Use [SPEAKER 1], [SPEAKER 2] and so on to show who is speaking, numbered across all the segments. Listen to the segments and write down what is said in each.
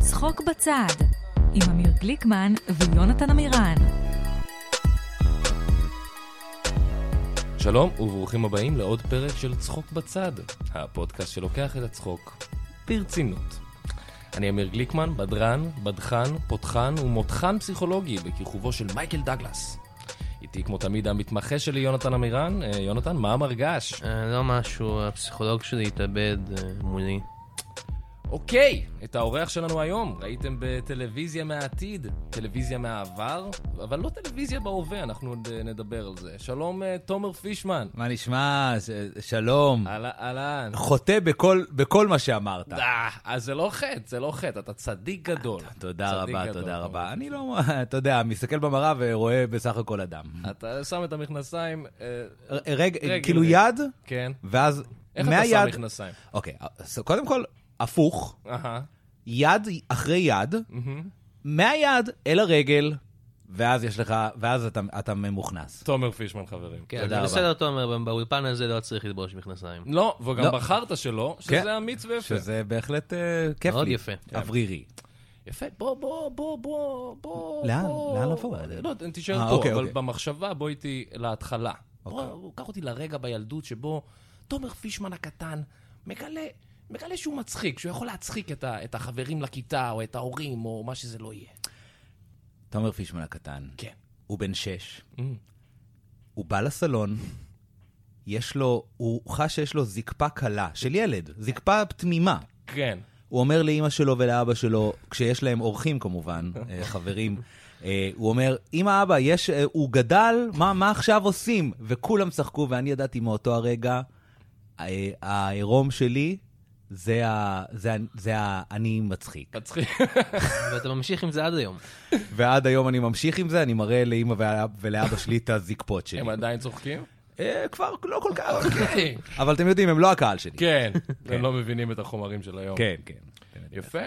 [SPEAKER 1] צחוק בצד, עם אמיר גליקמן ויונתן עמירן.
[SPEAKER 2] שלום וברוכים הבאים לעוד פרק של צחוק בצד, הפודקאסט שלוקח את הצחוק ברצינות. אני אמיר גליקמן, בדרן, בדחן, פותחן ומותחן פסיכולוגי בכיכובו של מייקל דגלס. איתי כמו תמיד המתמחה שלי יונתן עמירן. אה, יונתן, מה המרגש?
[SPEAKER 3] אה, לא משהו, הפסיכולוג שלי התאבד אה, מולי.
[SPEAKER 2] אוקיי, את האורח שלנו היום ראיתם בטלוויזיה מהעתיד, טלוויזיה מהעבר, אבל לא טלוויזיה בהווה, אנחנו עוד אה, נדבר על זה. שלום, אה, תומר פישמן.
[SPEAKER 4] מה נשמע? ש- שלום.
[SPEAKER 2] אהלן, אהלן.
[SPEAKER 4] חוטא בכל, בכל מה שאמרת.
[SPEAKER 2] אה, אז זה לא חטא, זה לא חטא, אתה צדיק גדול.
[SPEAKER 4] תודה
[SPEAKER 2] צדיק
[SPEAKER 4] רבה,
[SPEAKER 2] גדול,
[SPEAKER 4] תודה
[SPEAKER 2] אתה
[SPEAKER 4] רבה.
[SPEAKER 2] מבין.
[SPEAKER 4] אני לא, אתה יודע, מסתכל במראה ורואה בסך הכל אדם.
[SPEAKER 2] אתה שם את המכנסיים, אה,
[SPEAKER 4] ר- רגע,
[SPEAKER 2] רגל,
[SPEAKER 4] כאילו
[SPEAKER 2] רגל.
[SPEAKER 4] יד,
[SPEAKER 2] כן.
[SPEAKER 4] ואז
[SPEAKER 2] איך אתה שם
[SPEAKER 4] מהיד...
[SPEAKER 2] מכנסיים?
[SPEAKER 4] אוקיי, אז קודם כל, הפוך,
[SPEAKER 2] אהה,
[SPEAKER 4] יד אחרי יד,
[SPEAKER 2] מהמם.
[SPEAKER 4] מהיד אל הרגל, ואז יש לך, ואז אתה, אתה ממוכנס.
[SPEAKER 2] תומר פישמן, חברים.
[SPEAKER 3] כן,
[SPEAKER 4] תודה
[SPEAKER 3] זה
[SPEAKER 4] רבה.
[SPEAKER 3] בסדר, תומר, באולפן הזה לא צריך ללבוש מכנסיים.
[SPEAKER 2] לא, וגם
[SPEAKER 4] לא.
[SPEAKER 2] בחרת שלא,
[SPEAKER 4] כן.
[SPEAKER 2] שזה אמיץ ויפה.
[SPEAKER 4] שזה בהחלט אה, כיף לי.
[SPEAKER 3] מאוד יפה.
[SPEAKER 4] אוורירי.
[SPEAKER 2] יפה, בוא, בוא, בוא, בוא, בוא.
[SPEAKER 4] לאן?
[SPEAKER 2] בוא.
[SPEAKER 4] לאן לבוא?
[SPEAKER 2] לא, תישאר
[SPEAKER 4] אה,
[SPEAKER 2] פה,
[SPEAKER 4] אוקיי,
[SPEAKER 2] אבל
[SPEAKER 4] אוקיי.
[SPEAKER 2] במחשבה בוא איתי להתחלה.
[SPEAKER 4] אוקיי.
[SPEAKER 2] בוא, קח אותי לרגע בילדות שבו תומר פישמן הקטן מגלה... מגלה שהוא מצחיק, שהוא יכול להצחיק את, ה, את החברים לכיתה, או את ההורים, או מה שזה לא יהיה.
[SPEAKER 4] תומר פישמן הקטן,
[SPEAKER 2] כן.
[SPEAKER 4] הוא בן שש.
[SPEAKER 2] Mm.
[SPEAKER 4] הוא בא לסלון, יש לו, הוא חש שיש לו זקפה קלה, של ילד, זקפה תמימה.
[SPEAKER 2] כן.
[SPEAKER 4] הוא אומר לאימא שלו ולאבא שלו, כשיש להם אורחים כמובן, אה, חברים, אה, הוא אומר, אמא, אבא, יש, אה, הוא גדל, מה, מה עכשיו עושים? וכולם צחקו, ואני ידעתי מאותו הרגע, אה, העירום שלי, זה ה... זה ה... זה ה... אני מצחיק.
[SPEAKER 2] מצחיק.
[SPEAKER 3] ואתה ממשיך עם זה עד היום.
[SPEAKER 4] ועד היום אני ממשיך עם זה, אני מראה לאימא ולאב- ולאבא שלי את הזקפות שלי.
[SPEAKER 2] הם עדיין צוחקים?
[SPEAKER 4] אה, כבר לא כל כך, אבל אתם יודעים, הם לא הקהל שלי.
[SPEAKER 2] אוקיי. כן, הם לא מבינים את החומרים של היום.
[SPEAKER 4] כן, כן.
[SPEAKER 2] יפה.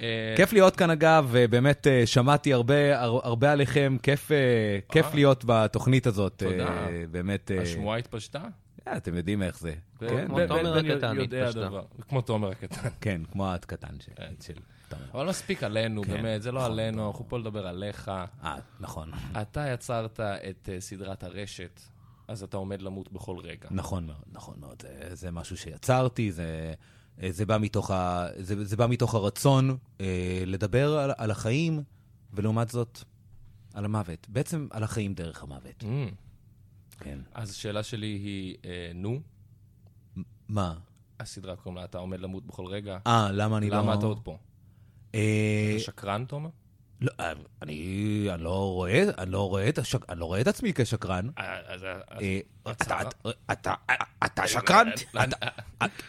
[SPEAKER 2] אה,
[SPEAKER 4] כיף להיות כאן אגב, ובאמת אה, שמעתי הרבה, הר- הרבה עליכם, כיף, אה, כיף להיות בתוכנית הזאת. אה,
[SPEAKER 2] תודה.
[SPEAKER 4] באמת, אה,
[SPEAKER 2] השמועה התפשטה?
[SPEAKER 4] אה, אתם יודעים איך זה. כן,
[SPEAKER 2] בן-
[SPEAKER 3] כמו
[SPEAKER 2] בן-
[SPEAKER 3] תומר
[SPEAKER 2] בן
[SPEAKER 3] הקטן
[SPEAKER 2] יודע
[SPEAKER 3] התפשטה.
[SPEAKER 2] דבר. כמו תומר הקטן.
[SPEAKER 4] כן, כמו הקטן של...
[SPEAKER 2] כן.
[SPEAKER 4] של תומר.
[SPEAKER 2] אבל מספיק עלינו,
[SPEAKER 4] כן.
[SPEAKER 2] באמת, זה לא
[SPEAKER 4] נכון,
[SPEAKER 2] עלינו,
[SPEAKER 4] נכון.
[SPEAKER 2] אנחנו פה לדבר עליך.
[SPEAKER 4] אה, נכון,
[SPEAKER 2] אתה יצרת את אה, סדרת הרשת, אז אתה עומד למות בכל רגע.
[SPEAKER 4] נכון מאוד, נכון מאוד. זה, זה משהו שיצרתי, זה, אה, זה, בא, מתוך ה, זה, זה בא מתוך הרצון אה, לדבר על, על החיים, ולעומת זאת, על המוות. בעצם על החיים דרך המוות.
[SPEAKER 2] Mm.
[SPEAKER 4] כן.
[SPEAKER 2] אז השאלה שלי היא, אה, נו,
[SPEAKER 4] מה?
[SPEAKER 2] הסדרה קוראים לה, אתה עומד למות בכל רגע,
[SPEAKER 4] אה, למה אני לא...
[SPEAKER 2] למה אתה עוד פה?
[SPEAKER 4] אה,
[SPEAKER 2] אתה שקרן, תומר?
[SPEAKER 4] לא, אה, אני, אני, לא רואה, אני, לא רואה את השק, אני לא רואה את עצמי כשקרן.
[SPEAKER 2] אה, אז- אז-
[SPEAKER 4] אה, אתה,
[SPEAKER 2] הצהרה.
[SPEAKER 4] אתה, אתה שקרן? אתה-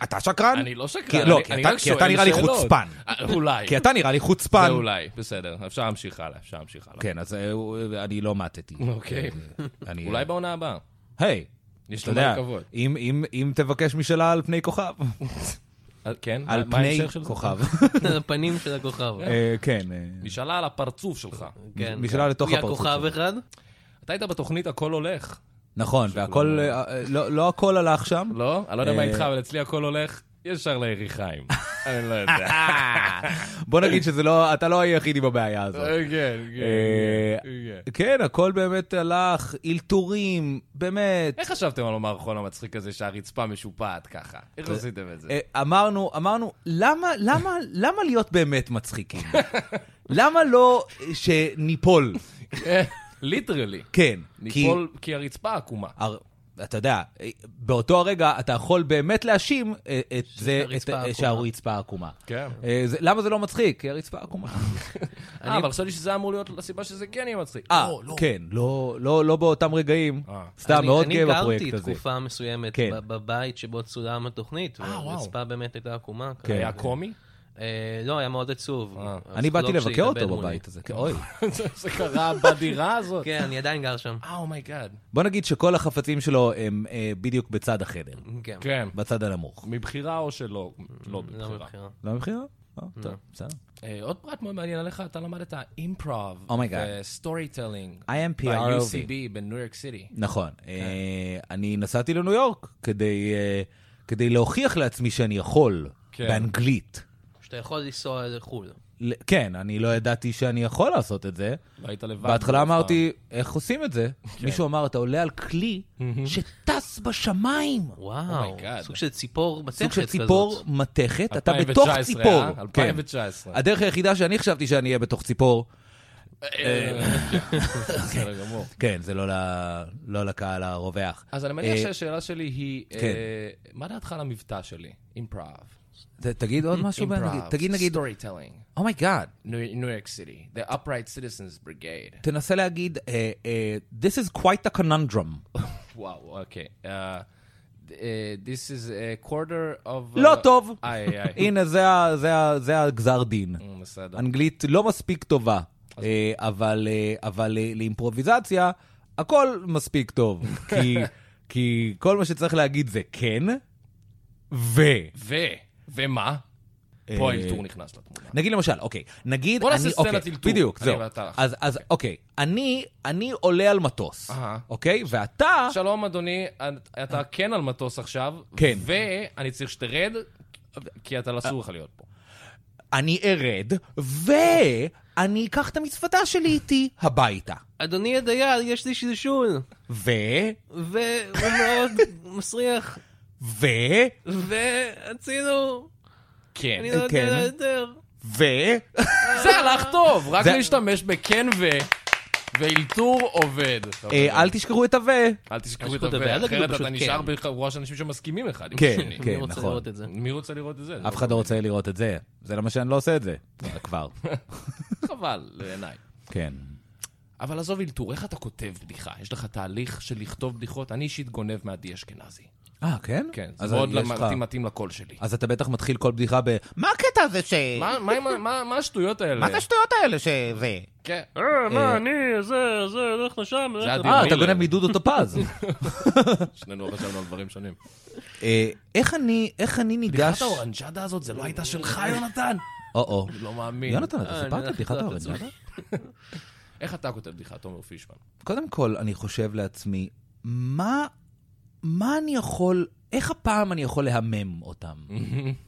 [SPEAKER 4] אתה שקרן?
[SPEAKER 2] אה, אני לא
[SPEAKER 4] כי-
[SPEAKER 2] שקרן.
[SPEAKER 4] לא,
[SPEAKER 2] אני-
[SPEAKER 4] כי
[SPEAKER 2] אני
[SPEAKER 4] אתה-
[SPEAKER 2] רק
[SPEAKER 4] כי אתה
[SPEAKER 2] שואל
[SPEAKER 4] נראה לי
[SPEAKER 2] שאלות.
[SPEAKER 4] חוצפן.
[SPEAKER 2] אה, אולי.
[SPEAKER 4] כי אתה נראה לי חוצפן.
[SPEAKER 2] זה אולי, בסדר. אפשר להמשיך הלאה, אפשר להמשיך הלאה.
[SPEAKER 4] כן, אז אה, הוא- אני לא מתתי.
[SPEAKER 2] אוקיי.
[SPEAKER 4] אה, אני-
[SPEAKER 2] אולי בעונה הבאה.
[SPEAKER 4] היי,
[SPEAKER 2] יש
[SPEAKER 4] אתה
[SPEAKER 2] לו מלא
[SPEAKER 4] יודע,
[SPEAKER 2] כבוד.
[SPEAKER 4] אם- אם- אם תבקש משאלה על פני כוכב.
[SPEAKER 2] אה, כן?
[SPEAKER 4] על
[SPEAKER 2] מה- מה
[SPEAKER 4] פני
[SPEAKER 2] ההמשך של זה?
[SPEAKER 4] כוכב.
[SPEAKER 3] הפנים של הכוכב.
[SPEAKER 4] אה, כן. אה,
[SPEAKER 2] נשאלה על הפרצוף שלך.
[SPEAKER 3] כן.
[SPEAKER 4] משאלה לתוך הפרצוף
[SPEAKER 3] הוא היה כוכב אחד?
[SPEAKER 2] אתה היית בתוכנית הכל הולך,
[SPEAKER 4] נכון, והכל, אה, אה, לא לא הכל הלך שם.
[SPEAKER 2] לא? אני לא יודע מה
[SPEAKER 4] אה.
[SPEAKER 2] איתך, אבל אצלי הכל הולך ישר ליריחיים. אני לא יודע.
[SPEAKER 4] בוא נגיד שזה לא, אתה לא היחיד עם הבעיה הזאת.
[SPEAKER 2] אה, כן,
[SPEAKER 4] אה,
[SPEAKER 2] כן, כן.
[SPEAKER 4] כן, הכל באמת הלך, אלתורים, באמת.
[SPEAKER 2] איך חשבתם על המערכון המצחיק הזה שהרצפה משופעת ככה? איך עשיתם את זה?
[SPEAKER 4] אה, אמרנו, אמרנו, למה, למה, למה להיות באמת מצחיקים? למה לא אה, שניפול?
[SPEAKER 2] אה, ליטרלי.
[SPEAKER 4] כן. כי
[SPEAKER 2] ניפול כי הרצפה עקומה. אה,
[SPEAKER 4] הר- אתה יודע, אה, באותו הרגע אתה יכול באמת להאשים אה, את זה,
[SPEAKER 3] שהרצפה
[SPEAKER 4] את- אה,
[SPEAKER 3] עקומה.
[SPEAKER 4] שהרצפה עקומה.
[SPEAKER 2] כן.
[SPEAKER 4] אה, זה- למה זה לא מצחיק? כי הרצפה עקומה.
[SPEAKER 2] אה, אבל חשבתי שזה אמור להיות הסיבה שזה כן יהיה מצחיק.
[SPEAKER 4] אה,
[SPEAKER 2] לא, לא.
[SPEAKER 4] כן, לא- לא לא באותם רגעים.
[SPEAKER 2] אה.
[SPEAKER 4] סתם,
[SPEAKER 3] אני-
[SPEAKER 4] מאוד גאה בפרויקט
[SPEAKER 3] אני גרתי
[SPEAKER 4] הזה.
[SPEAKER 3] תקופה מסוימת
[SPEAKER 4] כן.
[SPEAKER 3] ב- בבית שבו צולם התוכנית,
[SPEAKER 2] אה, וואו.
[SPEAKER 3] והרצפה באמת הייתה עקומה.
[SPEAKER 4] כן.
[SPEAKER 2] היה קומי?
[SPEAKER 3] אה, לא, היה מאוד עצוב.
[SPEAKER 2] אה.
[SPEAKER 4] אני באתי
[SPEAKER 3] הפסיכולוג שלי
[SPEAKER 4] לבקר
[SPEAKER 3] התאבד
[SPEAKER 4] אותו
[SPEAKER 3] מולי.
[SPEAKER 4] בבית הזה, כן, אוי.
[SPEAKER 2] זה זה קרה בדירה הזאת?
[SPEAKER 3] כן, אני עדיין גר שם.
[SPEAKER 2] אה, אומייגאד.
[SPEAKER 4] בוא נגיד שכל החפצים שלו הם אה, בדיוק בצד החדר,
[SPEAKER 3] כן.
[SPEAKER 2] כן.
[SPEAKER 4] בצד הנמוך.
[SPEAKER 2] מבחירה או שלא? לא
[SPEAKER 3] לא
[SPEAKER 2] מבחירה.
[SPEAKER 3] מבחירה.
[SPEAKER 4] Mm, לא מבחירה? אה, טוב, בסדר.
[SPEAKER 2] אה, עוד פרט מאוד מעניין עליך, אתה למדת אימפרוב.
[SPEAKER 4] Oh my God.
[SPEAKER 2] סטורי טלינג.
[SPEAKER 4] I am PROV.
[SPEAKER 2] ב-UCB בניו יורק סיטי.
[SPEAKER 4] נכון. אה, אני נסעתי לניו יורק כדי אה, כדי להוכיח לעצמי שאני יכול
[SPEAKER 2] כן.
[SPEAKER 4] באנגלית.
[SPEAKER 3] שאתה יכול לנסוע לחו"ל.
[SPEAKER 4] ל- כן, אני לא ידעתי שאני יכול לעשות את זה.
[SPEAKER 2] לא היית לבד.
[SPEAKER 4] בהתחלה
[SPEAKER 2] אף פעם.
[SPEAKER 4] אמרתי, איך עושים את זה?
[SPEAKER 2] כן.
[SPEAKER 4] מישהו אמר, אתה עולה על כלי שטס בשמיים.
[SPEAKER 3] וואו,
[SPEAKER 2] Oh my God.
[SPEAKER 3] סוג של ציפור מתכת
[SPEAKER 4] סוג
[SPEAKER 3] כזאת.
[SPEAKER 4] של ציפור מתכת, אתה בתוך
[SPEAKER 2] 2019,
[SPEAKER 4] ציפור.
[SPEAKER 2] אה?
[SPEAKER 4] כן.
[SPEAKER 2] 2019.
[SPEAKER 4] הדרך היחידה שאני חשבתי שאני אהיה בתוך ציפור, אה,
[SPEAKER 2] בסדר גמור.
[SPEAKER 4] כן, זה לא ל- לא לקהל הרווח.
[SPEAKER 2] אז אני מניח
[SPEAKER 4] אה,
[SPEAKER 2] שהשאלה שלי היא, אה,
[SPEAKER 4] כן.
[SPEAKER 2] מה דעתך על המבטא שלי? אימפרוב.
[SPEAKER 4] ת- תגיד עוד משהו באנגלית, תגיד נגיד, "Oh
[SPEAKER 2] סטורי-טלינג.
[SPEAKER 4] אומייגאד,
[SPEAKER 2] ניו יורק סיטי. The Upright Citizens Brigade.
[SPEAKER 4] תנסה להגיד, אה, אה, This is quite a conundrum.
[SPEAKER 2] וואו, אוקיי. אה, אה, This is a quarter of... uh,
[SPEAKER 4] לא טוב.
[SPEAKER 2] איי, איי.
[SPEAKER 4] הנה, זה ה- זה ה- זה הגזר דין.
[SPEAKER 2] אה, בסדר.
[SPEAKER 4] אנגלית לא מספיק טובה, אה, אבל, אה, אבל אה, לאימפרוביזציה, הכל מספיק טוב. כי, כי כל מה שצריך להגיד זה כן, ו...
[SPEAKER 2] ו... ומה?
[SPEAKER 4] אה,
[SPEAKER 2] פה האלתור נכנס לתמונה.
[SPEAKER 4] נגיד למשל, אוקיי, נגיד...
[SPEAKER 2] בוא
[SPEAKER 4] אני-
[SPEAKER 2] נעשה סצנת
[SPEAKER 4] אוקיי,
[SPEAKER 2] אלתור,
[SPEAKER 4] בדיוק,
[SPEAKER 2] אני
[SPEAKER 4] זהו.
[SPEAKER 2] ואתה.
[SPEAKER 4] אז, אז אוקיי, אני, אני עולה על מטוס,
[SPEAKER 2] אהה.
[SPEAKER 4] אוקיי? ואתה...
[SPEAKER 2] שלום, אדוני, את- אתה כן על מטוס עכשיו,
[SPEAKER 4] כן.
[SPEAKER 2] ואני צריך שתרד, כי אתה לא אסור לך להיות פה.
[SPEAKER 4] אני ארד, ואני אקח את המזוודה שלי איתי הביתה.
[SPEAKER 3] אדוני הדייר, יש לי שלשול.
[SPEAKER 4] ו...
[SPEAKER 3] והוא מאוד מסריח.
[SPEAKER 4] ו...
[SPEAKER 3] והצילו,
[SPEAKER 2] כן.
[SPEAKER 3] אני לא
[SPEAKER 4] כן.
[SPEAKER 3] יודע יותר.
[SPEAKER 4] ו...
[SPEAKER 2] זה הלך טוב, רק
[SPEAKER 4] זה-
[SPEAKER 2] להשתמש בכן ו... ואילתור עובד. אוקיי.
[SPEAKER 4] אה, אל תשכחו את ה-ו.
[SPEAKER 2] אל תשכחו
[SPEAKER 3] אל
[SPEAKER 2] את
[SPEAKER 3] תשכחו את
[SPEAKER 2] הווה,
[SPEAKER 3] הווה, אל תגידו
[SPEAKER 2] אחרת
[SPEAKER 3] פשוט
[SPEAKER 2] אתה נשאר
[SPEAKER 3] כן.
[SPEAKER 2] בחבורה של אנשים שמסכימים אחד עם
[SPEAKER 4] כן,
[SPEAKER 2] השני.
[SPEAKER 4] כן,
[SPEAKER 3] אני רוצה
[SPEAKER 4] נכון.
[SPEAKER 3] לראות את זה.
[SPEAKER 2] מי רוצה לראות את זה?
[SPEAKER 4] אף אחד לא רוצה לראות את זה. זה למה שאני לא עושה את זה. כבר.
[SPEAKER 2] חבל, לעיניי.
[SPEAKER 4] כן.
[SPEAKER 2] אבל עזוב אילתור, איך אתה כותב בדיחה? יש לך תהליך של לכתוב בדיחות? אני אישית גונב מעדי אשכנזי.
[SPEAKER 4] אה, כן?
[SPEAKER 2] כן,
[SPEAKER 4] אז
[SPEAKER 2] זה מאוד
[SPEAKER 4] יש
[SPEAKER 2] למ-
[SPEAKER 4] לך-
[SPEAKER 2] מתאים- מתאים לקול שלי.
[SPEAKER 4] אז אתה בטח מתחיל כל בדיחה ב... מה הקטע הזה ש...
[SPEAKER 2] מה- מה עם ה- מה מה השטויות האלה?
[SPEAKER 4] מה זה השטויות האלה ש... זה?
[SPEAKER 2] כן.
[SPEAKER 3] אה, מה, אני, זה, זה, הולך לשם. הולך
[SPEAKER 2] זה
[SPEAKER 3] לפה.
[SPEAKER 2] אדיר.
[SPEAKER 4] אה, אתה
[SPEAKER 2] מילר.
[SPEAKER 4] גונב מדודו טופז.
[SPEAKER 2] שנינו חשבנו על דברים שונים.
[SPEAKER 4] אה, איך אני, איך אני
[SPEAKER 2] בדיחת
[SPEAKER 4] ניגש...
[SPEAKER 2] האורנג'אדה הזאת, זה לא הייתה שלך, יונתן?
[SPEAKER 4] או-או.
[SPEAKER 2] לא מאמין.
[SPEAKER 4] יונתן, אתה
[SPEAKER 3] אה,
[SPEAKER 4] סיפרת על
[SPEAKER 3] אני
[SPEAKER 4] בדיחת
[SPEAKER 3] לא
[SPEAKER 4] האורנג'אדה?
[SPEAKER 2] איך אתה כותב בדיחה, תומר פישמן?
[SPEAKER 4] קודם כל, אני חושב לעצמי, מה... מה אני יכול... איך הפעם אני יכול להמם אותם?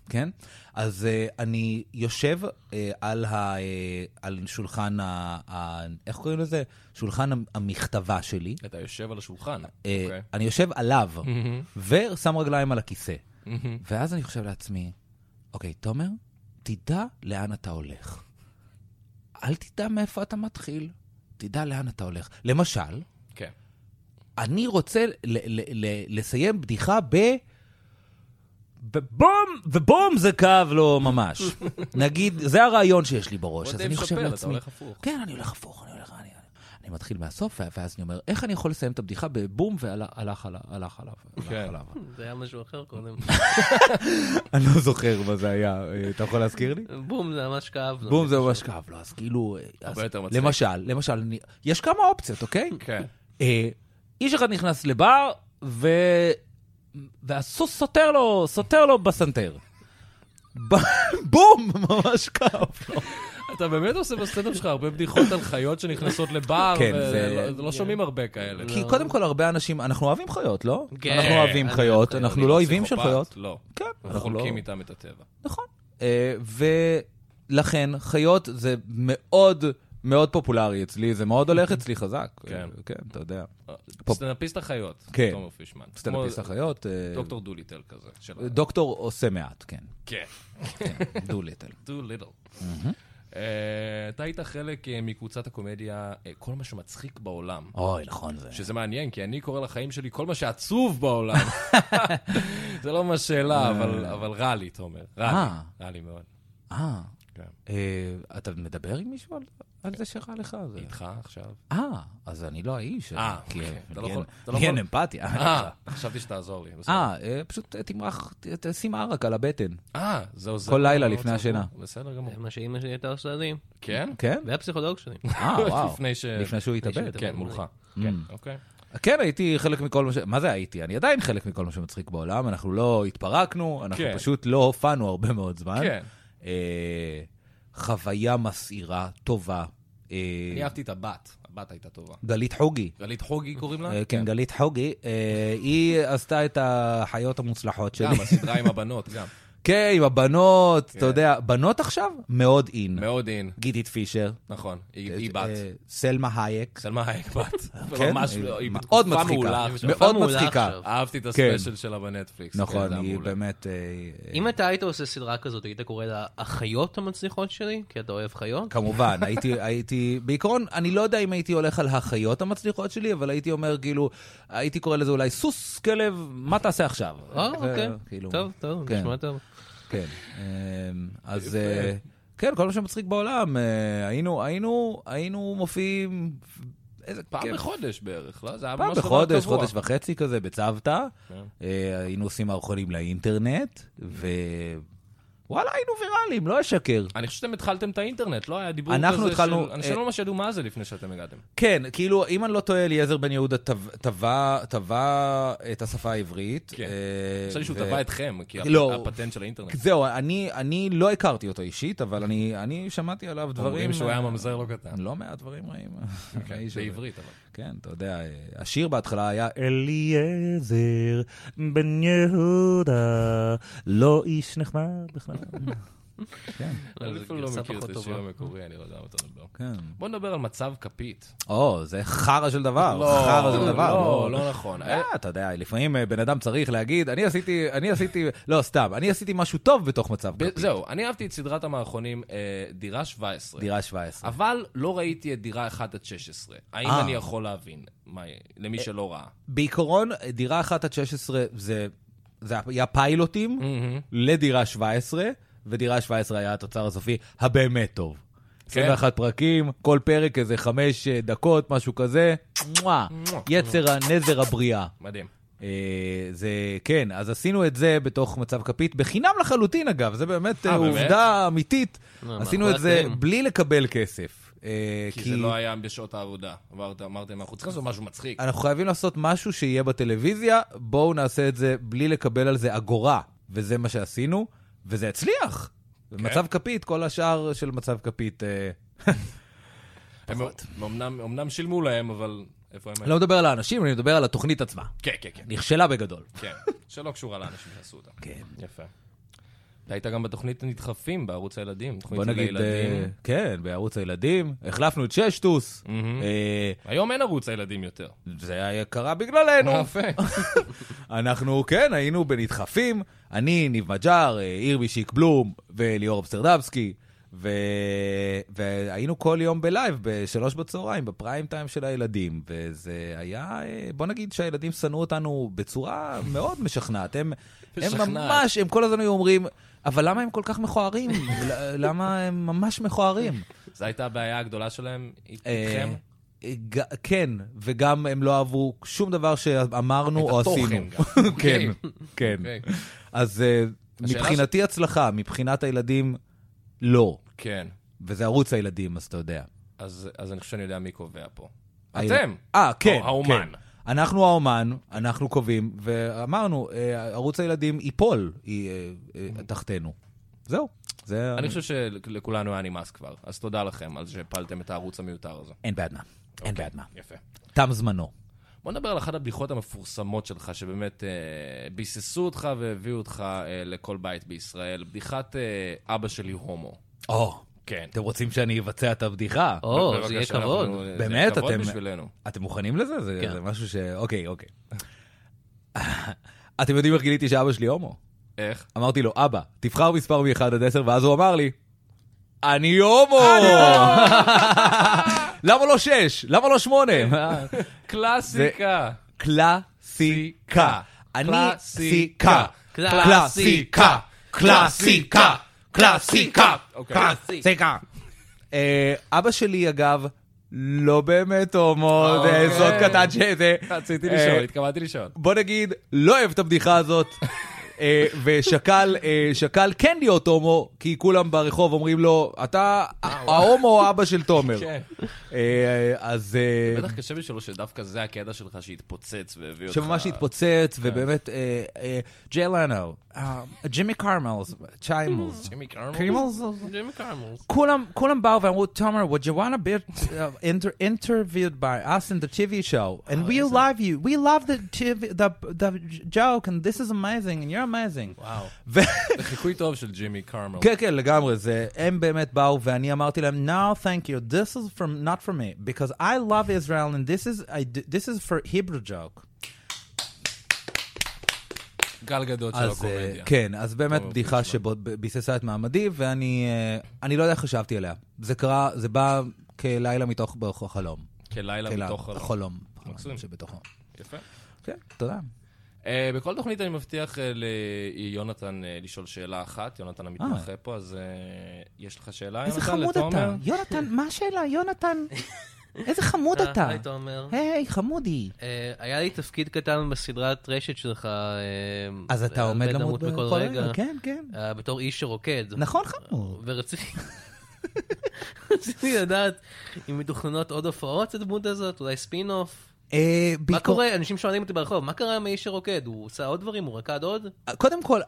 [SPEAKER 4] כן? אז uh, אני יושב uh, על, ה, uh, על שולחן ה, ה... איך קוראים לזה? שולחן המ- המכתבה שלי.
[SPEAKER 2] אתה יושב על השולחן.
[SPEAKER 4] Uh,
[SPEAKER 2] אוקיי.
[SPEAKER 4] אני יושב עליו, ושם רגליים על הכיסא. ואז אני חושב לעצמי, אוקיי, תומר, תדע לאן אתה הולך. אל תדע מאיפה אתה מתחיל, תדע לאן אתה הולך. למשל,
[SPEAKER 2] כן.
[SPEAKER 4] אני רוצה ל- ל- ל- לסיים בדיחה ב... בבום, ובום זה כאב לו ממש. נגיד, זה הרעיון שיש לי בראש,
[SPEAKER 2] כמו
[SPEAKER 4] אז
[SPEAKER 2] דייב
[SPEAKER 4] אני חושב
[SPEAKER 2] שאפל, אתה
[SPEAKER 4] לעצמי...
[SPEAKER 2] הולך הפוך.
[SPEAKER 4] כן, אני הולך הפוך, אני הולך... אני, אני מתחיל מהסוף, ואז אני אומר, איך אני יכול לסיים את הבדיחה בבום והלך הלך, הלך, הלך עליו. הלך
[SPEAKER 2] כן.
[SPEAKER 4] עליו.
[SPEAKER 3] זה היה משהו אחר קודם.
[SPEAKER 4] אני לא זוכר מה זה היה, אה, אתה יכול להזכיר לי?
[SPEAKER 3] בום, זה ממש כאב. לו.
[SPEAKER 4] בום זה ממש כאב לו, אז כאילו... אה, אז
[SPEAKER 2] יותר מצחיק.
[SPEAKER 4] למשל, למשל, אני- יש כמה אופציות, אוקיי?
[SPEAKER 2] כן.
[SPEAKER 4] אה, איש אחד נכנס לבר, ו... והסוס סותר לו, סותר לו בסנטר. ב- בום, ממש כאב לו.
[SPEAKER 2] אתה באמת עושה בסטנדאפ שלך הרבה בדיחות על חיות שנכנסות לבר,
[SPEAKER 4] כן, זה- כאילו,
[SPEAKER 2] ולא שומעים הרבה כאלה.
[SPEAKER 4] כי קודם כל הרבה אנשים, אנחנו אוהבים חיות, לא?
[SPEAKER 3] כן,
[SPEAKER 4] אנחנו אוהבים
[SPEAKER 3] אני
[SPEAKER 4] חיות,
[SPEAKER 3] אוהב חיות.
[SPEAKER 4] אנחנו לא אויבים של חיות.
[SPEAKER 2] כאילו, לא.
[SPEAKER 4] כן,
[SPEAKER 2] אנחנו
[SPEAKER 4] אנחנו לא...
[SPEAKER 2] חולקים איתם את הטבע.
[SPEAKER 4] נכון. אה, ולכן, חיות זה מאוד מאוד פופולרי אצלי, זה מאוד הולך אצלי חזק.
[SPEAKER 2] כן.
[SPEAKER 4] אה, כן, אתה יודע. פופ-
[SPEAKER 2] סטנדאפיסט החיות,
[SPEAKER 4] כן.
[SPEAKER 2] תומר פישמן.
[SPEAKER 4] סטנדאפיסט
[SPEAKER 2] כמו
[SPEAKER 4] החיות. אה,
[SPEAKER 2] דוקטור דוליטל כזה. של-
[SPEAKER 4] דוקטור עושה מעט, כן.
[SPEAKER 2] כן,
[SPEAKER 4] כן, דו ליטל.
[SPEAKER 2] דוליטל. אתה היית חלק אה, מקבוצת הקומדיה אה, כל מה שמצחיק בעולם.
[SPEAKER 4] אוי, נכון זה.
[SPEAKER 2] שזה מעניין, כי אני קורא לחיים שלי כל מה שעצוב בעולם. זה לא ממש שאלה, אבל- אבל רע לי, תומר. רע
[SPEAKER 4] אה.
[SPEAKER 2] לי. רע לי מאוד.
[SPEAKER 4] אה,
[SPEAKER 2] כן.
[SPEAKER 4] אה, אתה מדבר עם מישהו על- על זה שרע לך? זה-
[SPEAKER 2] איתך עכשיו?
[SPEAKER 4] אה, אז אני לא האיש.
[SPEAKER 2] אה,
[SPEAKER 4] כי-
[SPEAKER 2] אוקיי. אתה לא
[SPEAKER 4] לי אין-
[SPEAKER 2] יכול- אתה לא
[SPEAKER 4] לי אין
[SPEAKER 2] יכול-
[SPEAKER 4] אמפתיה.
[SPEAKER 2] אה, חשבתי שתעזור לי. בסדר.
[SPEAKER 4] אה, אה, פשוט תמרח, ת- תשים ערק על הבטן.
[SPEAKER 2] אה, זה עוזר.
[SPEAKER 4] כל לילה
[SPEAKER 2] מאוד
[SPEAKER 4] לפני
[SPEAKER 2] צבוע.
[SPEAKER 4] השינה.
[SPEAKER 2] בסדר גמור.
[SPEAKER 3] זה מה שאימא שלי הייתה עושה לי.
[SPEAKER 2] כן?
[SPEAKER 4] כן?
[SPEAKER 3] והפסיכולוג שלי.
[SPEAKER 4] אה, וואו.
[SPEAKER 2] לפני ש...
[SPEAKER 4] לפני שהוא התאבד.
[SPEAKER 3] שהוא
[SPEAKER 2] כן, מולך.
[SPEAKER 4] Mm.
[SPEAKER 2] כן, אוקיי.
[SPEAKER 4] כן, הייתי חלק מכל מה ש... מה זה הייתי? אני עדיין חלק מכל מה שמצחיק בעולם, אנחנו לא התפרקנו, אנחנו
[SPEAKER 2] כן.
[SPEAKER 4] פשוט לא הופענו הרבה מאוד זמן.
[SPEAKER 2] כן.
[SPEAKER 4] אה, חוויה מסעירה, טובה. אה,
[SPEAKER 2] אני אהבתי את הבת, הבת הייתה טובה.
[SPEAKER 4] גלית חוגי.
[SPEAKER 2] גלית חוגי קוראים לה?
[SPEAKER 4] אה, כן, גלית חוגי, אה, היא עשתה את החיות המוצלחות
[SPEAKER 2] גם
[SPEAKER 4] שלי.
[SPEAKER 2] הסדרה עם הבנות, גם.
[SPEAKER 4] כן, עם הבנות, אתה
[SPEAKER 2] כן.
[SPEAKER 4] יודע, בנות עכשיו? מאוד אין.
[SPEAKER 2] מאוד אין,
[SPEAKER 4] גידית פישר.
[SPEAKER 2] נכון, היא היא בת.
[SPEAKER 4] אה, סלמה הייק.
[SPEAKER 2] סלמה הייק בת.
[SPEAKER 4] כן,
[SPEAKER 2] ממש,
[SPEAKER 4] היא
[SPEAKER 2] לא, היא
[SPEAKER 4] מאוד
[SPEAKER 2] בתקופה
[SPEAKER 4] מצחיקה.
[SPEAKER 2] מעולה.
[SPEAKER 3] היא
[SPEAKER 2] עכשיו.
[SPEAKER 3] בתקופה
[SPEAKER 4] מאוד
[SPEAKER 3] מעולה
[SPEAKER 4] מצחיקה.
[SPEAKER 3] עכשיו.
[SPEAKER 2] אהבתי את
[SPEAKER 4] כן.
[SPEAKER 2] הספיישל שלה בנטפליקס. כן,
[SPEAKER 4] נכון,
[SPEAKER 2] זה היה
[SPEAKER 4] היא
[SPEAKER 2] מעולה.
[SPEAKER 4] באמת... אה, אה,
[SPEAKER 3] אם אתה היית עושה סדרה כזאת, היית קורא לה החיות המצליחות שלי? כי אתה אוהב חיות?
[SPEAKER 4] כמובן, הייתי, הייתי, בעיקרון, אני לא יודע אם הייתי הולך על החיות המצליחות שלי, אבל הייתי אומר, כאילו, הייתי קורא לזה אולי סוס, כלב, מה תעשה עכשיו?
[SPEAKER 3] אה,
[SPEAKER 4] ו-
[SPEAKER 3] אוקיי.
[SPEAKER 4] כאילו,
[SPEAKER 3] טוב, טוב,
[SPEAKER 4] כן.
[SPEAKER 3] נשמע טוב.
[SPEAKER 4] כן. אמ, אז אה, כן, כל מה שמצחיק בעולם, אה, היינו, היינו, היינו מופיעים... איזה
[SPEAKER 2] פעם
[SPEAKER 4] כיף.
[SPEAKER 2] בחודש בערך, לא? זה היה
[SPEAKER 4] כן. פעם
[SPEAKER 2] ממש דבר
[SPEAKER 4] בחודש,
[SPEAKER 2] קבוע.
[SPEAKER 4] חודש וחצי כזה, בצוותא.
[SPEAKER 2] כן.
[SPEAKER 4] אה, היינו עושים מערכונים לאינטרנט, ווואלה, היינו ויראליים, לא אשקר.
[SPEAKER 2] אני חושב שאתם התחלתם את האינטרנט, לא היה דיבור כזה
[SPEAKER 4] אנחנו התחלנו,
[SPEAKER 2] של... אנשים
[SPEAKER 4] אה,
[SPEAKER 2] לא ממש ידעו מה זה לפני שאתם הגעתם.
[SPEAKER 4] כן, כאילו, אם אני לא טועה, אליעזר בן יהודה טבע- טבע טבע את השפה העברית.
[SPEAKER 2] כן.
[SPEAKER 4] אה,
[SPEAKER 2] חשבתי שהוא
[SPEAKER 4] ו-
[SPEAKER 2] טבע אתכם, כי
[SPEAKER 4] לא.
[SPEAKER 2] הפטנט של האינטרנט.
[SPEAKER 4] זהו, אני, אני לא הכרתי אותו אישית, אבל אני, אני שמעתי עליו דברים...
[SPEAKER 2] אומרים שהוא
[SPEAKER 4] אה,
[SPEAKER 2] היה ממזר לא קטן.
[SPEAKER 4] לא מעט דברים רעים.
[SPEAKER 2] כן,
[SPEAKER 4] האיש הזה.
[SPEAKER 2] בעברית, אבל.
[SPEAKER 4] כן, אתה יודע, אה, השיר בהתחלה היה אליעזר בן יהודה, לא איש נחמד בכלל. כן,
[SPEAKER 3] לא,
[SPEAKER 2] אני
[SPEAKER 3] זה
[SPEAKER 2] אפילו לא
[SPEAKER 3] גרסה
[SPEAKER 2] מכיר את
[SPEAKER 3] פחות
[SPEAKER 2] השיר
[SPEAKER 3] טובה.
[SPEAKER 2] המקורי, אני לא יודע מה אתה מדבר.
[SPEAKER 4] כן.
[SPEAKER 2] בוא נדבר על מצב כפית.
[SPEAKER 4] או, זה חרא של דבר, חרא של דבר.
[SPEAKER 2] לא, לא נכון.
[SPEAKER 4] אה, אתה יודע, לפעמים אה, בן אדם צריך להגיד, אני עשיתי, אני עשיתי, לא, סתם, אני עשיתי משהו טוב בתוך מצב
[SPEAKER 2] ב-
[SPEAKER 4] כפי.
[SPEAKER 2] זהו, אני אהבתי את סדרת המערכונים אה, דירה 17.
[SPEAKER 4] דירה 17.
[SPEAKER 2] אבל לא ראיתי את דירה 1 עד 16. האם
[SPEAKER 4] אה.
[SPEAKER 2] אני יכול להבין? מה, למי שלא ראה.
[SPEAKER 4] בעיקרון, דירה 1 עד 16 זה, זה היה פיילוטים לדירה 17, ודירה 17 היה התוצר הסופי הבאמת טוב.
[SPEAKER 2] כן.
[SPEAKER 4] 21 פרקים, כל פרק איזה 5 דקות, משהו כזה. מואה, יצר הנזר הבריאה.
[SPEAKER 2] מדהים.
[SPEAKER 4] אה, זה, כן, אז עשינו את זה בתוך מצב כפית, בחינם לחלוטין אגב, זה באמת
[SPEAKER 2] אה,
[SPEAKER 4] אה,
[SPEAKER 2] באמת?
[SPEAKER 4] עובדה אמיתית.
[SPEAKER 3] אה,
[SPEAKER 4] עשינו
[SPEAKER 3] מאחורי
[SPEAKER 4] את זה
[SPEAKER 3] הקלעים.
[SPEAKER 4] בלי לקבל כסף. אה,
[SPEAKER 2] כי זה לא היה בשעות העבודה. אמרת- אמרתם, אנחנו צריכים לעשות משהו מצחיק.
[SPEAKER 4] אנחנו חייבים לעשות משהו שיהיה בטלוויזיה, בואו נעשה את זה בלי לקבל על זה אגורה. וזה מה שעשינו, וזה הצליח.
[SPEAKER 2] כן.
[SPEAKER 4] במצב כפית, כל השאר של מצב כפית. אה,
[SPEAKER 2] הם אמנם- אמנם שילמו להם, אבל איפה הם
[SPEAKER 4] אני לא מדבר על האנשים, אני מדבר על התוכנית עצמה.
[SPEAKER 2] כן, כן, כן.
[SPEAKER 4] נכשלה בגדול.
[SPEAKER 2] כן. שלא קשורה לאנשים שעשו אותה.
[SPEAKER 4] כן.
[SPEAKER 2] יפה. אתה היית גם בתוכנית נדחפים בערוץ הילדים. תוכנית
[SPEAKER 4] בוא נגיד, אה,
[SPEAKER 2] לילדים.
[SPEAKER 4] כן, בערוץ הילדים, החלפנו את ששטוס.
[SPEAKER 2] מהמם.
[SPEAKER 4] אה,
[SPEAKER 2] היום אין ערוץ הילדים יותר.
[SPEAKER 4] זה היה קרה בגללנו.
[SPEAKER 2] יפה.
[SPEAKER 4] אנחנו, כן, היינו בנדחפים. אני, ניב מג'אר, אה, אירבי שיק בלום וליאור אבסרדבסקי. ו... והיינו כל יום בלייב בשלוש בצהריים, בפריים טיים של הילדים. וזה היה, אה, בוא נגיד שהילדים שנאו אותנו בצורה מאוד משכנעת. הם, הם
[SPEAKER 2] משכנעת.
[SPEAKER 4] ממש, הם כל הזמן היו אומרים, אבל למה הם כל כך מכוערים? ל- למה הם ממש מכוערים?
[SPEAKER 2] זו הייתה הבעיה הגדולה שלהם
[SPEAKER 4] אה,
[SPEAKER 2] איתכם?
[SPEAKER 4] ג- כן, וגם הם לא אהבו שום דבר שאמרנו
[SPEAKER 2] את
[SPEAKER 4] או
[SPEAKER 2] התוכן
[SPEAKER 4] עשינו.
[SPEAKER 2] גם.
[SPEAKER 4] כן,
[SPEAKER 2] אוקיי.
[SPEAKER 4] כן.
[SPEAKER 2] אוקיי.
[SPEAKER 4] אז אה,
[SPEAKER 2] השאלה
[SPEAKER 4] מבחינתי הצלחה, מבחינת הילדים, לא.
[SPEAKER 2] כן.
[SPEAKER 4] וזה ערוץ הילדים, אז אתה יודע.
[SPEAKER 2] אז אז אני חושב שאני יודע מי קובע פה.
[SPEAKER 4] הילד-
[SPEAKER 2] אתם.
[SPEAKER 4] אה, כן.
[SPEAKER 2] או האומן.
[SPEAKER 4] כן. אנחנו האומן, אנחנו קובעים, ואמרנו, אה, ערוץ הילדים ייפול היא, אה, אה, תחתנו. זהו. זה...
[SPEAKER 2] אני חושב שלכולנו היה נמאס כבר, אז תודה לכם על שהפלתם את הערוץ המיותר הזה.
[SPEAKER 4] אין בעד מה.
[SPEAKER 2] אוקיי.
[SPEAKER 4] אין בעד מה.
[SPEAKER 2] יפה.
[SPEAKER 4] תם זמנו.
[SPEAKER 2] בוא נדבר על אחת הבדיחות המפורסמות שלך, שבאמת אה, ביססו אותך והביאו אותך אה, לכל בית בישראל. בדיחת אה, אבא שלי הומו.
[SPEAKER 4] או,
[SPEAKER 2] כן.
[SPEAKER 4] אתם רוצים שאני אבצע את הבדיחה?
[SPEAKER 3] או,
[SPEAKER 2] בבקשה,
[SPEAKER 3] זה יהיה
[SPEAKER 2] אנחנו-
[SPEAKER 3] כבוד.
[SPEAKER 4] באמת,
[SPEAKER 2] זה כבוד
[SPEAKER 4] אתם-
[SPEAKER 2] בשבילנו.
[SPEAKER 4] אתם מוכנים לזה? זה,
[SPEAKER 3] כן.
[SPEAKER 4] זה משהו ש... אוקיי, אוקיי. אתם יודעים איך גיליתי שאבא שלי הומו?
[SPEAKER 2] איך?
[SPEAKER 4] אמרתי לו, אבא, תבחר מספר מ-1 עד 10, ואז הוא אמר לי, אני הומו! למה לא 6? למה לא 8?
[SPEAKER 2] קלאסיקה.
[SPEAKER 4] קלאסיקה. אני
[SPEAKER 2] קלאסיקה.
[SPEAKER 4] קלאסיקה. קלאסיקה. קלאסיקה.
[SPEAKER 2] אוקיי.
[SPEAKER 4] קלאסיקה. אה, אבא שלי, אגב, לא באמת הומו, זה
[SPEAKER 2] אוקיי.
[SPEAKER 4] סוד קטן שזה.
[SPEAKER 2] רציתי
[SPEAKER 4] אה,
[SPEAKER 2] לשאול, התכוונתי לשאול.
[SPEAKER 4] בוא נגיד, לא אוהב את הבדיחה הזאת, אה, ושקל אה, שקל כן להיות הומו, כי כולם ברחוב אומרים לו, אתה ההומו אבא של תומר.
[SPEAKER 2] אה, כן.
[SPEAKER 4] אה, אז... אה,
[SPEAKER 2] בטח קשה בשבילו שדווקא זה הקטע שלך שהתפוצץ והביא אותך...
[SPEAKER 4] שממש התפוצץ, ובאמת, אה, אה, ג'יי לנו, אה, ג'ימי קרמלס, צ'יימלס.
[SPEAKER 2] ג'ימי קרמל?
[SPEAKER 4] קרמלס?
[SPEAKER 3] ג'ימי קרמוס.
[SPEAKER 4] כולם, כולם באו ואמרו, תומר, would you want to be uh, inter- interviewed by us in the TV show? And we love you. We love the, TV, the, the joke, and this is amazing, and you're amazing.
[SPEAKER 3] וואו.
[SPEAKER 4] ו-
[SPEAKER 2] זה חיקוי טוב של ג'ימי קרמל.
[SPEAKER 4] כן, כן, לגמרי, זה, הם באמת באו, ואני אמרתי להם, no, thank you, this is from, not for me, because I love Israel, and this is, I, d- this is for Hebrew joke.
[SPEAKER 2] גל גדות של
[SPEAKER 4] אז, אה,
[SPEAKER 2] הקומדיה.
[SPEAKER 4] כן, אז באמת
[SPEAKER 2] טוב,
[SPEAKER 4] בדיחה
[SPEAKER 2] נשמע.
[SPEAKER 4] שביססה את מעמדי, ואני אה, אני לא יודע איך חשבתי עליה. זה קרה, זה בא כלילה מתוך בתוך החלום.
[SPEAKER 2] כלילה
[SPEAKER 4] כלילה, נכון.
[SPEAKER 2] מתוך הלב.
[SPEAKER 4] החלום.
[SPEAKER 2] מקסים.
[SPEAKER 4] שבתוכו.
[SPEAKER 2] יפה.
[SPEAKER 4] כן, תודה.
[SPEAKER 2] אה, בכל תוכנית אני מבטיח אה, ליונתן אה, לשאול שאלה אחת, יונתן המתמחה פה, אז אה, יש לך שאלה,
[SPEAKER 5] איזה
[SPEAKER 2] יונתן,
[SPEAKER 5] חמוד
[SPEAKER 2] לתומר?
[SPEAKER 5] אתה. יונתן, מה השאלה? יונתן, איזה חמוד
[SPEAKER 3] אה,
[SPEAKER 5] אתה.
[SPEAKER 3] היי, תומר.
[SPEAKER 5] היי, חמודי.
[SPEAKER 3] אה, היה לי תפקיד קטן בסדרת רשת שלך. אה,
[SPEAKER 4] אז אתה
[SPEAKER 3] אה,
[SPEAKER 4] עומד
[SPEAKER 3] בן
[SPEAKER 4] למות
[SPEAKER 3] בכל רגע.
[SPEAKER 5] כן, כן.
[SPEAKER 3] אה, בתור איש שרוקד.
[SPEAKER 5] נכון, חמוד.
[SPEAKER 3] ורציתי... רציתי לדעת אם מתוכננות עוד הופעות לדמות הזאת, אולי ספין-אוף.
[SPEAKER 5] אה,
[SPEAKER 3] מה
[SPEAKER 5] ביקור-
[SPEAKER 3] קורה? אנשים שואלים אותי ברחוב, מה קרה עם האיש שרוקד? הוא עושה עוד דברים? הוא רקד עוד?
[SPEAKER 4] קודם כל,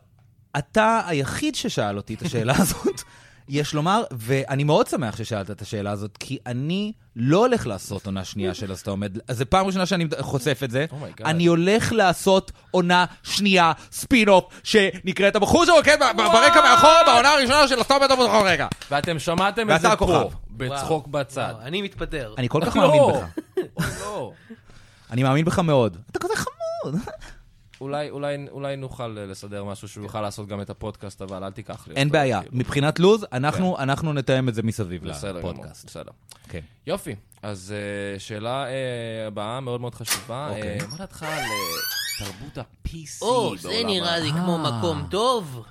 [SPEAKER 4] אתה היחיד ששאל אותי את השאלה הזאת, יש לומר, ואני מאוד שמח ששאלת את השאלה הזאת, כי אני לא הולך לעשות עונה שנייה של אז אתה עומד, אז זו פעם ראשונה שאני חושף את זה.
[SPEAKER 2] Oh my God.
[SPEAKER 4] אני הולך לעשות עונה שנייה, ספין-אוף, שנקראת הבחור שרוקד ב- ב- ברקע מאחור, בעונה הראשונה של אז אתה עומד בכל רגע.
[SPEAKER 2] ואתם שמעתם
[SPEAKER 4] ואתה
[SPEAKER 2] את זה פה,
[SPEAKER 4] הכוכב.
[SPEAKER 2] בצחוק בצד.
[SPEAKER 3] וואו, אני מתפטר.
[SPEAKER 4] אני כל כך
[SPEAKER 2] לא.
[SPEAKER 4] מאמין בך.
[SPEAKER 2] אוי, לא.
[SPEAKER 4] אני מאמין בך מאוד. אתה כזה חמוד.
[SPEAKER 2] אולי- אולי- אולי נוכל אה, לסדר משהו שהוא יוכל לעשות גם את הפודקאסט, אבל אל תיקח לי
[SPEAKER 4] אין
[SPEAKER 2] אותו,
[SPEAKER 4] בעיה.
[SPEAKER 2] כאילו.
[SPEAKER 4] מבחינת לוז, אנחנו אנחנו נתאם את זה מסביב
[SPEAKER 2] כן. בסדר גמור,
[SPEAKER 4] לפודקאסט.
[SPEAKER 2] בסדר.
[SPEAKER 4] כן.
[SPEAKER 2] יופי, אז אה, שאלה אה, הבאה מאוד מאוד חשובה.
[SPEAKER 4] אוקיי.
[SPEAKER 2] אה, מה דעתך על אה, תרבות ה-PC
[SPEAKER 3] או, זה
[SPEAKER 2] בעולם אה. ה-
[SPEAKER 3] נראה
[SPEAKER 4] אה.
[SPEAKER 3] לי כמו מקום טוב.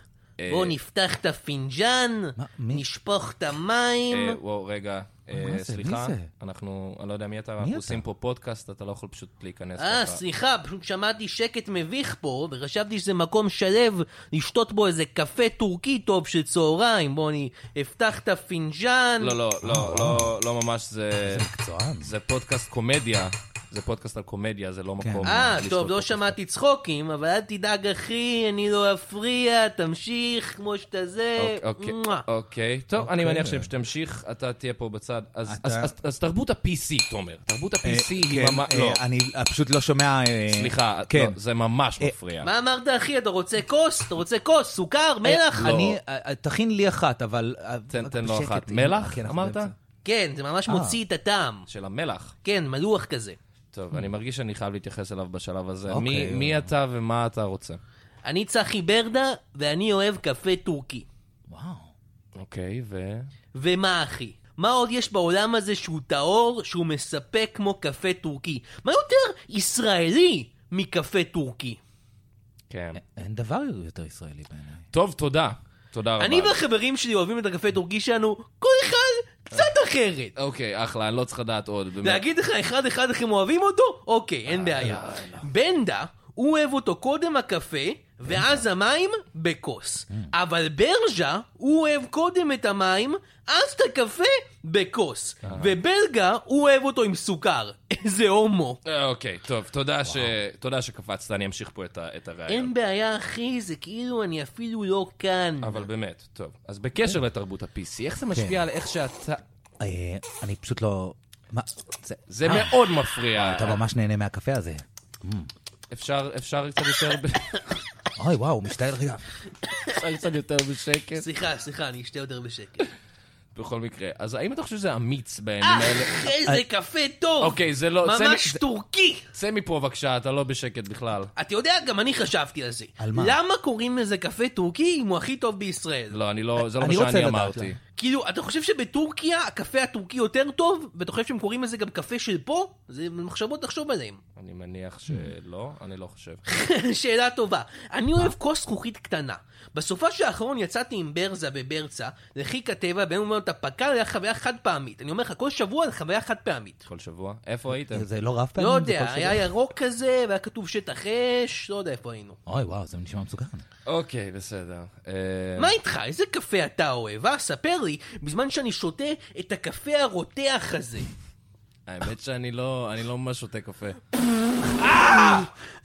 [SPEAKER 3] בואו נפתח את הפינג'אן,
[SPEAKER 4] מה, מי?
[SPEAKER 3] נשפוך את
[SPEAKER 2] אה,
[SPEAKER 3] המים.
[SPEAKER 2] וואו, רגע, אה,
[SPEAKER 4] מה זה?
[SPEAKER 2] סליחה,
[SPEAKER 4] מי זה?
[SPEAKER 2] אנחנו, אני לא יודע מי אתה, אנחנו
[SPEAKER 4] אתה?
[SPEAKER 2] עושים פה פודקאסט, אתה לא יכול פשוט להיכנס
[SPEAKER 3] אה,
[SPEAKER 2] ככה.
[SPEAKER 3] סליחה, פשוט שמעתי שקט מביך פה, וחשבתי שזה מקום שלב לשתות בו איזה קפה טורקי טוב של צהריים. בואו אני אפתח את הפינג'אן.
[SPEAKER 2] לא, לא,
[SPEAKER 4] אה,
[SPEAKER 2] לא, לא, לא ממש, זה... זה פודקאסט קומדיה, זה פודקאסט על קומדיה, זה לא
[SPEAKER 4] כן.
[SPEAKER 2] מקום...
[SPEAKER 3] אה,
[SPEAKER 2] לשתות
[SPEAKER 3] טוב, לא
[SPEAKER 2] פודקאסט.
[SPEAKER 3] שמעתי צחוקים, אבל אל תדאג, אחי, אני לא אפריע, תמשיך כמו שאתה זה.
[SPEAKER 2] אוק- אוקיי,
[SPEAKER 3] מואה.
[SPEAKER 2] אוקיי, טוב, אני מניח שכשתמשיך, אתה תהיה פה בצד. אז-
[SPEAKER 4] אתה-
[SPEAKER 2] אז- אז- אז תרבות ה-PC, תומר. תרבות ה-PC היא
[SPEAKER 4] כן,
[SPEAKER 2] ממש...
[SPEAKER 4] אה,
[SPEAKER 2] לא,
[SPEAKER 4] אני אה, פשוט לא שומע... אה,
[SPEAKER 2] סליחה,
[SPEAKER 4] כן.
[SPEAKER 2] לא, זה ממש מפריע.
[SPEAKER 3] מה אמרת, אחי? אתה רוצה כוס? אתה רוצה כוס? סוכר?
[SPEAKER 2] לא.
[SPEAKER 3] מלח?
[SPEAKER 4] אני, אה, אה, תכין לי אחת, אבל... אה,
[SPEAKER 2] תן-
[SPEAKER 4] רק
[SPEAKER 2] תן לו
[SPEAKER 4] בשקט,
[SPEAKER 2] אחת.
[SPEAKER 4] אם-
[SPEAKER 2] מלח,
[SPEAKER 4] כן, אנחנו
[SPEAKER 2] אמרת?
[SPEAKER 4] באמצע.
[SPEAKER 3] כן, זה
[SPEAKER 2] אה.
[SPEAKER 3] ממש מוציא את הטעם.
[SPEAKER 2] של המלח.
[SPEAKER 3] כן, מלוח כזה.
[SPEAKER 2] טוב,
[SPEAKER 3] Mm.
[SPEAKER 2] אני מרגיש שאני חייב להתייחס אליו בשלב הזה.
[SPEAKER 4] אוקיי,
[SPEAKER 2] מי-
[SPEAKER 4] אוקיי.
[SPEAKER 2] מי אתה ומה אתה רוצה?
[SPEAKER 3] אני צחי ברדה, ואני אוהב קפה טורקי.
[SPEAKER 4] וואו.
[SPEAKER 2] אוקיי, ו...
[SPEAKER 3] ומה, אחי? מה עוד יש בעולם הזה שהוא טהור, שהוא מספק כמו קפה טורקי? מה יותר ישראלי מקפה טורקי? אה.
[SPEAKER 2] כן.
[SPEAKER 4] אין דבר יותר ישראלי בעיניי.
[SPEAKER 2] טוב, תודה. תודה רבה.
[SPEAKER 3] אני והחברים שלי אוהבים את הקפה הטורקי שלנו, כל אחד קצת אחרת.
[SPEAKER 2] אוקיי, אחלה, אני לא צריך לדעת עוד. באמת.
[SPEAKER 3] להגיד לך אחד אחד איך הם אוהבים אותו? אוקיי, אין בעיה. בנדה, הוא אוהב אותו קודם הקפה, ואז המים בכוס. אבל ברג'ה, הוא אוהב קודם את המים, אז את הקפה בכוס. ובלגה, הוא אוהב אותו עם סוכר. איזה הומו.
[SPEAKER 2] אה, אוקיי, טוב, תודה ש... תודה שקפצת, אני אמשיך פה את ה- את
[SPEAKER 3] אין
[SPEAKER 2] הרעיון.
[SPEAKER 3] בעיה, אחי, זה כאילו אני אפילו לא כאן.
[SPEAKER 2] אבל באמת, טוב. אז בקשר לתרבות ה-PC, איך זה משפיע על איך שאתה...
[SPEAKER 4] כן. אה, אני פשוט לא... מה? זה-
[SPEAKER 2] זה
[SPEAKER 3] אה.
[SPEAKER 2] אה. מאוד מפריע.
[SPEAKER 4] אה, אתה ממש נהנה מהקפה הזה.
[SPEAKER 2] אפשר אפשר קצת יותר ב-
[SPEAKER 4] אוי, וואו, הוא משתעל רגע.
[SPEAKER 2] אפשר קצת יותר בשקט?
[SPEAKER 3] סליחה, סליחה, אני אשתה יותר בשקט.
[SPEAKER 2] בכל מקרה, אז האם אתה חושב שזה אמיץ בימים
[SPEAKER 3] אה.
[SPEAKER 2] האלה?
[SPEAKER 3] איזה קפה טוב!
[SPEAKER 2] אוקיי, זה לא- זה-
[SPEAKER 3] ממש
[SPEAKER 2] זה-
[SPEAKER 3] טורקי!
[SPEAKER 2] צא מפה בבקשה, אתה לא בשקט בכלל.
[SPEAKER 3] אתה יודע, גם אני חשבתי על זה.
[SPEAKER 4] על מה?
[SPEAKER 3] למה קוראים לזה קפה טורקי אם הוא הכי טוב בישראל?
[SPEAKER 2] לא, אני לא, זה לא מה
[SPEAKER 4] אני רוצה
[SPEAKER 2] שאני
[SPEAKER 4] לדעת
[SPEAKER 2] אמרתי.
[SPEAKER 4] למה.
[SPEAKER 3] כאילו, אתה חושב שבטורקיה הקפה הטורקי יותר טוב? ואתה חושב שהם קוראים לזה גם קפה של פה? זה מחשבות לחשוב עליהם.
[SPEAKER 4] לא.
[SPEAKER 2] אני
[SPEAKER 4] Hmm.
[SPEAKER 2] מניח שלא, אני לא חושב.
[SPEAKER 3] שאלה טובה. אני אוהב כוס זכוכית קטנה. בסופה האחרון יצאתי עם ברזה וברצה לחיק הטבע, והם אומרים אתה פקל היה חוויה חד פעמית. אני אומר לך, כל שבוע זה חוויה חד פעמית.
[SPEAKER 2] כל שבוע. איפה הייתם?
[SPEAKER 4] זה לא רב פעמים?
[SPEAKER 3] לא
[SPEAKER 4] זה כל
[SPEAKER 3] יודע,
[SPEAKER 4] שבוע?
[SPEAKER 3] היה ירוק כזה, והיה כתוב שטח אש, לא יודע איפה היינו.
[SPEAKER 4] אוי, וואו, זה נשמע מסוכן.
[SPEAKER 2] אוקיי, בסדר. אה,
[SPEAKER 4] כן.
[SPEAKER 3] מה איתך? איזה קפה אתה אוהב, אה? ספר לי, בזמן שאני שותה את הקפה הרותח הזה.
[SPEAKER 2] האמת שאני לא, אני לא ממש שותה קפה.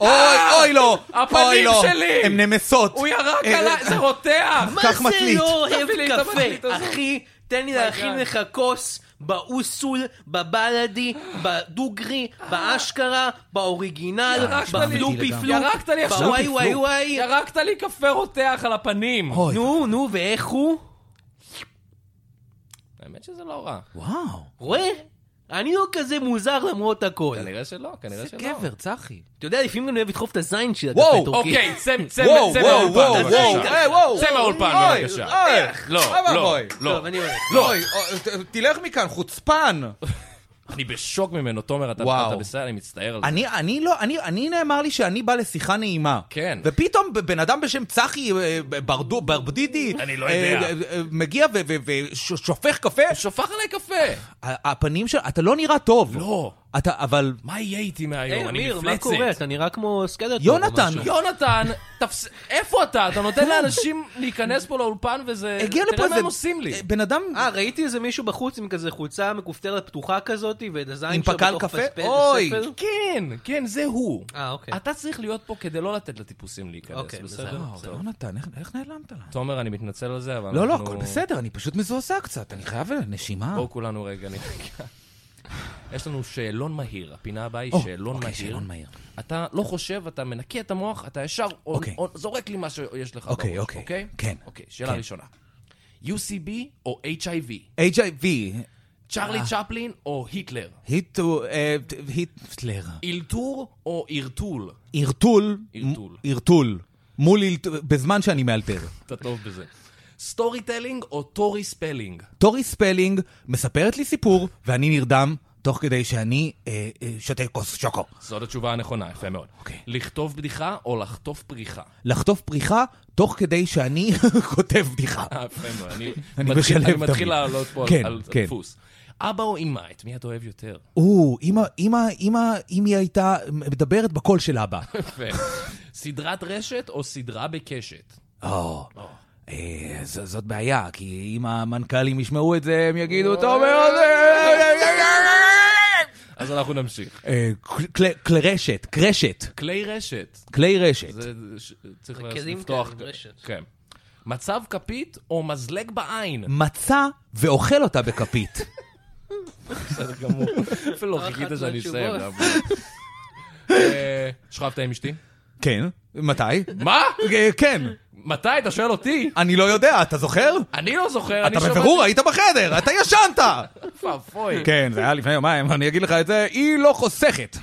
[SPEAKER 4] אוי, אוי, לא!
[SPEAKER 2] הפנים
[SPEAKER 4] אוי, לא.
[SPEAKER 2] שלי!
[SPEAKER 4] הן נמסות.
[SPEAKER 2] הוא ירק
[SPEAKER 4] אה,
[SPEAKER 2] עליי, זה רותח!
[SPEAKER 3] מה
[SPEAKER 4] כך
[SPEAKER 3] זה
[SPEAKER 4] מחליט.
[SPEAKER 3] לא
[SPEAKER 2] תביא
[SPEAKER 3] אוהב
[SPEAKER 2] לי את המחליט
[SPEAKER 3] קפה?
[SPEAKER 2] הזאת.
[SPEAKER 4] Oh
[SPEAKER 3] אחי, תן לי להכין
[SPEAKER 2] God.
[SPEAKER 3] לך כוס באוסול, בבלדי, בדוגרי, באשכרה, באוריגינל,
[SPEAKER 2] ירשת לי.
[SPEAKER 3] בפלופי
[SPEAKER 4] לגמרי.
[SPEAKER 3] פלופ,
[SPEAKER 2] ירקת לי עכשיו.
[SPEAKER 3] בוואי וואי וואי.
[SPEAKER 2] ירקת לי קפה רותח על הפנים.
[SPEAKER 4] אוי,
[SPEAKER 3] נו, נו, ואיך הוא?
[SPEAKER 2] האמת שזה לא רע.
[SPEAKER 4] וואו.
[SPEAKER 3] רואה? אני לא כזה מוזר למרות הכל.
[SPEAKER 2] כנראה שלא, כנראה
[SPEAKER 4] איזה
[SPEAKER 2] שלא.
[SPEAKER 4] גבר, צחי.
[SPEAKER 3] אתה יודע, לפעמים אני אוהב לדחוף את הזין של
[SPEAKER 4] וואו,
[SPEAKER 3] הגפה הטורקית.
[SPEAKER 2] אוקיי, צא צא-
[SPEAKER 4] וואו,
[SPEAKER 2] צא
[SPEAKER 4] וואו, וואו,
[SPEAKER 2] מהאולפן
[SPEAKER 4] וואו,
[SPEAKER 2] בבקשה.
[SPEAKER 4] אה, וואו.
[SPEAKER 2] צא מהאולפן
[SPEAKER 4] אוי,
[SPEAKER 2] בבקשה.
[SPEAKER 4] אוי,
[SPEAKER 2] לא,
[SPEAKER 4] אבא
[SPEAKER 2] לא,
[SPEAKER 4] בוי.
[SPEAKER 2] לא.
[SPEAKER 3] טוב, אני הולך.
[SPEAKER 2] לא.
[SPEAKER 4] אוי, אוי, אה, ת- תלך מכאן, חוצפן.
[SPEAKER 2] אני בשוק ממנו, תומר, אתה
[SPEAKER 4] וואו.
[SPEAKER 2] אתה בסדר, אני מצטער על זה.
[SPEAKER 4] אני, אני לא, אני, אני נאמר לי שאני בא לשיחה נעימה.
[SPEAKER 2] כן.
[SPEAKER 4] ופתאום ב- בן אדם בשם צחי אה, ברדו- ברבדידי,
[SPEAKER 2] אני לא יודע.
[SPEAKER 4] אה, אה, אה, מגיע ושופך קפה,
[SPEAKER 2] הוא שופך עליי קפה.
[SPEAKER 4] ה- הפנים של... אתה לא נראה טוב.
[SPEAKER 2] לא.
[SPEAKER 4] אתה, אבל...
[SPEAKER 2] מה יהיה איתי
[SPEAKER 3] היי,
[SPEAKER 2] מהיום? אני
[SPEAKER 3] "אה, אמיר,
[SPEAKER 2] מפלצת.
[SPEAKER 3] מה קורה? אתה נראה כמו סקלטור.
[SPEAKER 4] יונתן,
[SPEAKER 3] או משהו.
[SPEAKER 2] יונתן, תפס... איפה אתה? אתה נותן לאנשים להיכנס פה לאולפן וזה...
[SPEAKER 4] הגיע לפה
[SPEAKER 2] תראה
[SPEAKER 4] איזה...
[SPEAKER 2] מה הם עושים לי.
[SPEAKER 4] אה, בן אדם...
[SPEAKER 3] אה, ראיתי איזה מישהו בחוץ עם כזה חולצה מכופתרת פתוחה כזאת, ואת
[SPEAKER 4] עם
[SPEAKER 3] הזין שלו
[SPEAKER 4] פקל
[SPEAKER 3] בתוך
[SPEAKER 4] קפה?
[SPEAKER 3] פספל-
[SPEAKER 4] אוי.
[SPEAKER 3] ספל.
[SPEAKER 2] כן, כן, זה הוא.
[SPEAKER 3] אה, אוקיי.
[SPEAKER 2] אתה צריך להיות פה כדי לא לתת לטיפוסים להיכנס,
[SPEAKER 3] אוקיי,
[SPEAKER 2] בסדר?
[SPEAKER 3] בסדר.
[SPEAKER 4] וואו,
[SPEAKER 2] טוב.
[SPEAKER 4] יונתן, לא איך- איך נעלמת לנו?
[SPEAKER 2] אה, תומר, אני מתנצל על זה, לא, אבל
[SPEAKER 4] לא, לא,
[SPEAKER 2] אנחנו-
[SPEAKER 4] הכל בסדר, אני פשוט מזועזע קצת, אני חייב נשימה.
[SPEAKER 2] בואו כולנו רגע נרגע. יש לנו שאלון מהיר, הפינה הבאה היא
[SPEAKER 4] או,
[SPEAKER 2] שאלון
[SPEAKER 4] אוקיי,
[SPEAKER 2] מהיר.
[SPEAKER 4] שאלון מהיר.
[SPEAKER 2] אתה לא חושב, אתה מנקה את המוח, אתה ישר עונ-
[SPEAKER 4] אוקיי.
[SPEAKER 2] עונ- זורק לי מה שיש לך
[SPEAKER 4] אוקיי,
[SPEAKER 2] בראש,
[SPEAKER 4] אוקיי. כן.
[SPEAKER 2] אוקיי, שאלה
[SPEAKER 4] כן. אה.
[SPEAKER 2] ראשונה. UCB או HIV?
[SPEAKER 4] HIV,
[SPEAKER 2] צ'רלי צ'פלין או היטלר?
[SPEAKER 4] היטו- אה, היטלר.
[SPEAKER 2] אילתור או ערטול?
[SPEAKER 4] ערטול.
[SPEAKER 2] ערטול.
[SPEAKER 4] מ- ערטול. מול ערטול, בזמן שאני מאלתר.
[SPEAKER 2] אתה טוב בזה. סטורי טלינג או טורי ספלינג?
[SPEAKER 4] טורי ספלינג מספרת לי סיפור, ואני נרדם, תוך כדי שאני אה, אה, שותה כוס שוקו.
[SPEAKER 2] זאת התשובה הנכונה, יפה מאוד.
[SPEAKER 4] אוקיי.
[SPEAKER 2] לכתוב בדיחה או לחטוף פריחה?
[SPEAKER 4] לחטוף פריחה, תוך כדי שאני כותב בדיחה.
[SPEAKER 2] אה, יפה מאוד. אני
[SPEAKER 4] אני
[SPEAKER 2] מתחיל-
[SPEAKER 4] משלב
[SPEAKER 2] אני
[SPEAKER 4] תמיד.
[SPEAKER 2] מתחיל לעלות פה על-
[SPEAKER 4] כן,
[SPEAKER 2] על
[SPEAKER 4] כן.
[SPEAKER 2] דפוס. אבא או אמא, את מי אתה אוהב יותר?
[SPEAKER 4] או, אמא, אמא, אמא, אם היא הייתה מדברת בקול של אבא.
[SPEAKER 2] יפה. סדרת רשת או סדרה בקשת?
[SPEAKER 4] או, אה, ז- זאת בעיה, כי אם המנכ"לים ישמעו את זה, הם יגידו, טוב מאוד...
[SPEAKER 2] אז אנחנו נמשיך.
[SPEAKER 4] אה, כל- כלי רשת, קרשת,
[SPEAKER 2] כלי רשת.
[SPEAKER 4] כלי רשת.
[SPEAKER 2] זה ש- צריך
[SPEAKER 3] כלים
[SPEAKER 2] לפתוח.
[SPEAKER 3] כאלה, רשת.
[SPEAKER 2] כן. מצב כפית או מזלג בעין?
[SPEAKER 4] מצה ואוכל אותה בכפית.
[SPEAKER 2] בסדר גמור. אפילו לא חיכית
[SPEAKER 3] אחת
[SPEAKER 2] שאני אסיים.
[SPEAKER 3] מהתשובות.
[SPEAKER 2] אבל- אה, שכבת עם אשתי?
[SPEAKER 4] כן, מתי?
[SPEAKER 2] מה?
[SPEAKER 4] אה, כן,
[SPEAKER 2] מתי? אתה שואל אותי?
[SPEAKER 4] אני לא יודע, אתה זוכר?
[SPEAKER 2] אני לא זוכר, אני
[SPEAKER 4] אתה
[SPEAKER 2] שמעתי-
[SPEAKER 4] בבירור היית בחדר, אתה ישנת!
[SPEAKER 2] פאפוי.
[SPEAKER 4] כן, זה היה לפני יומיים, אני אגיד לך את זה, היא לא חוסכת.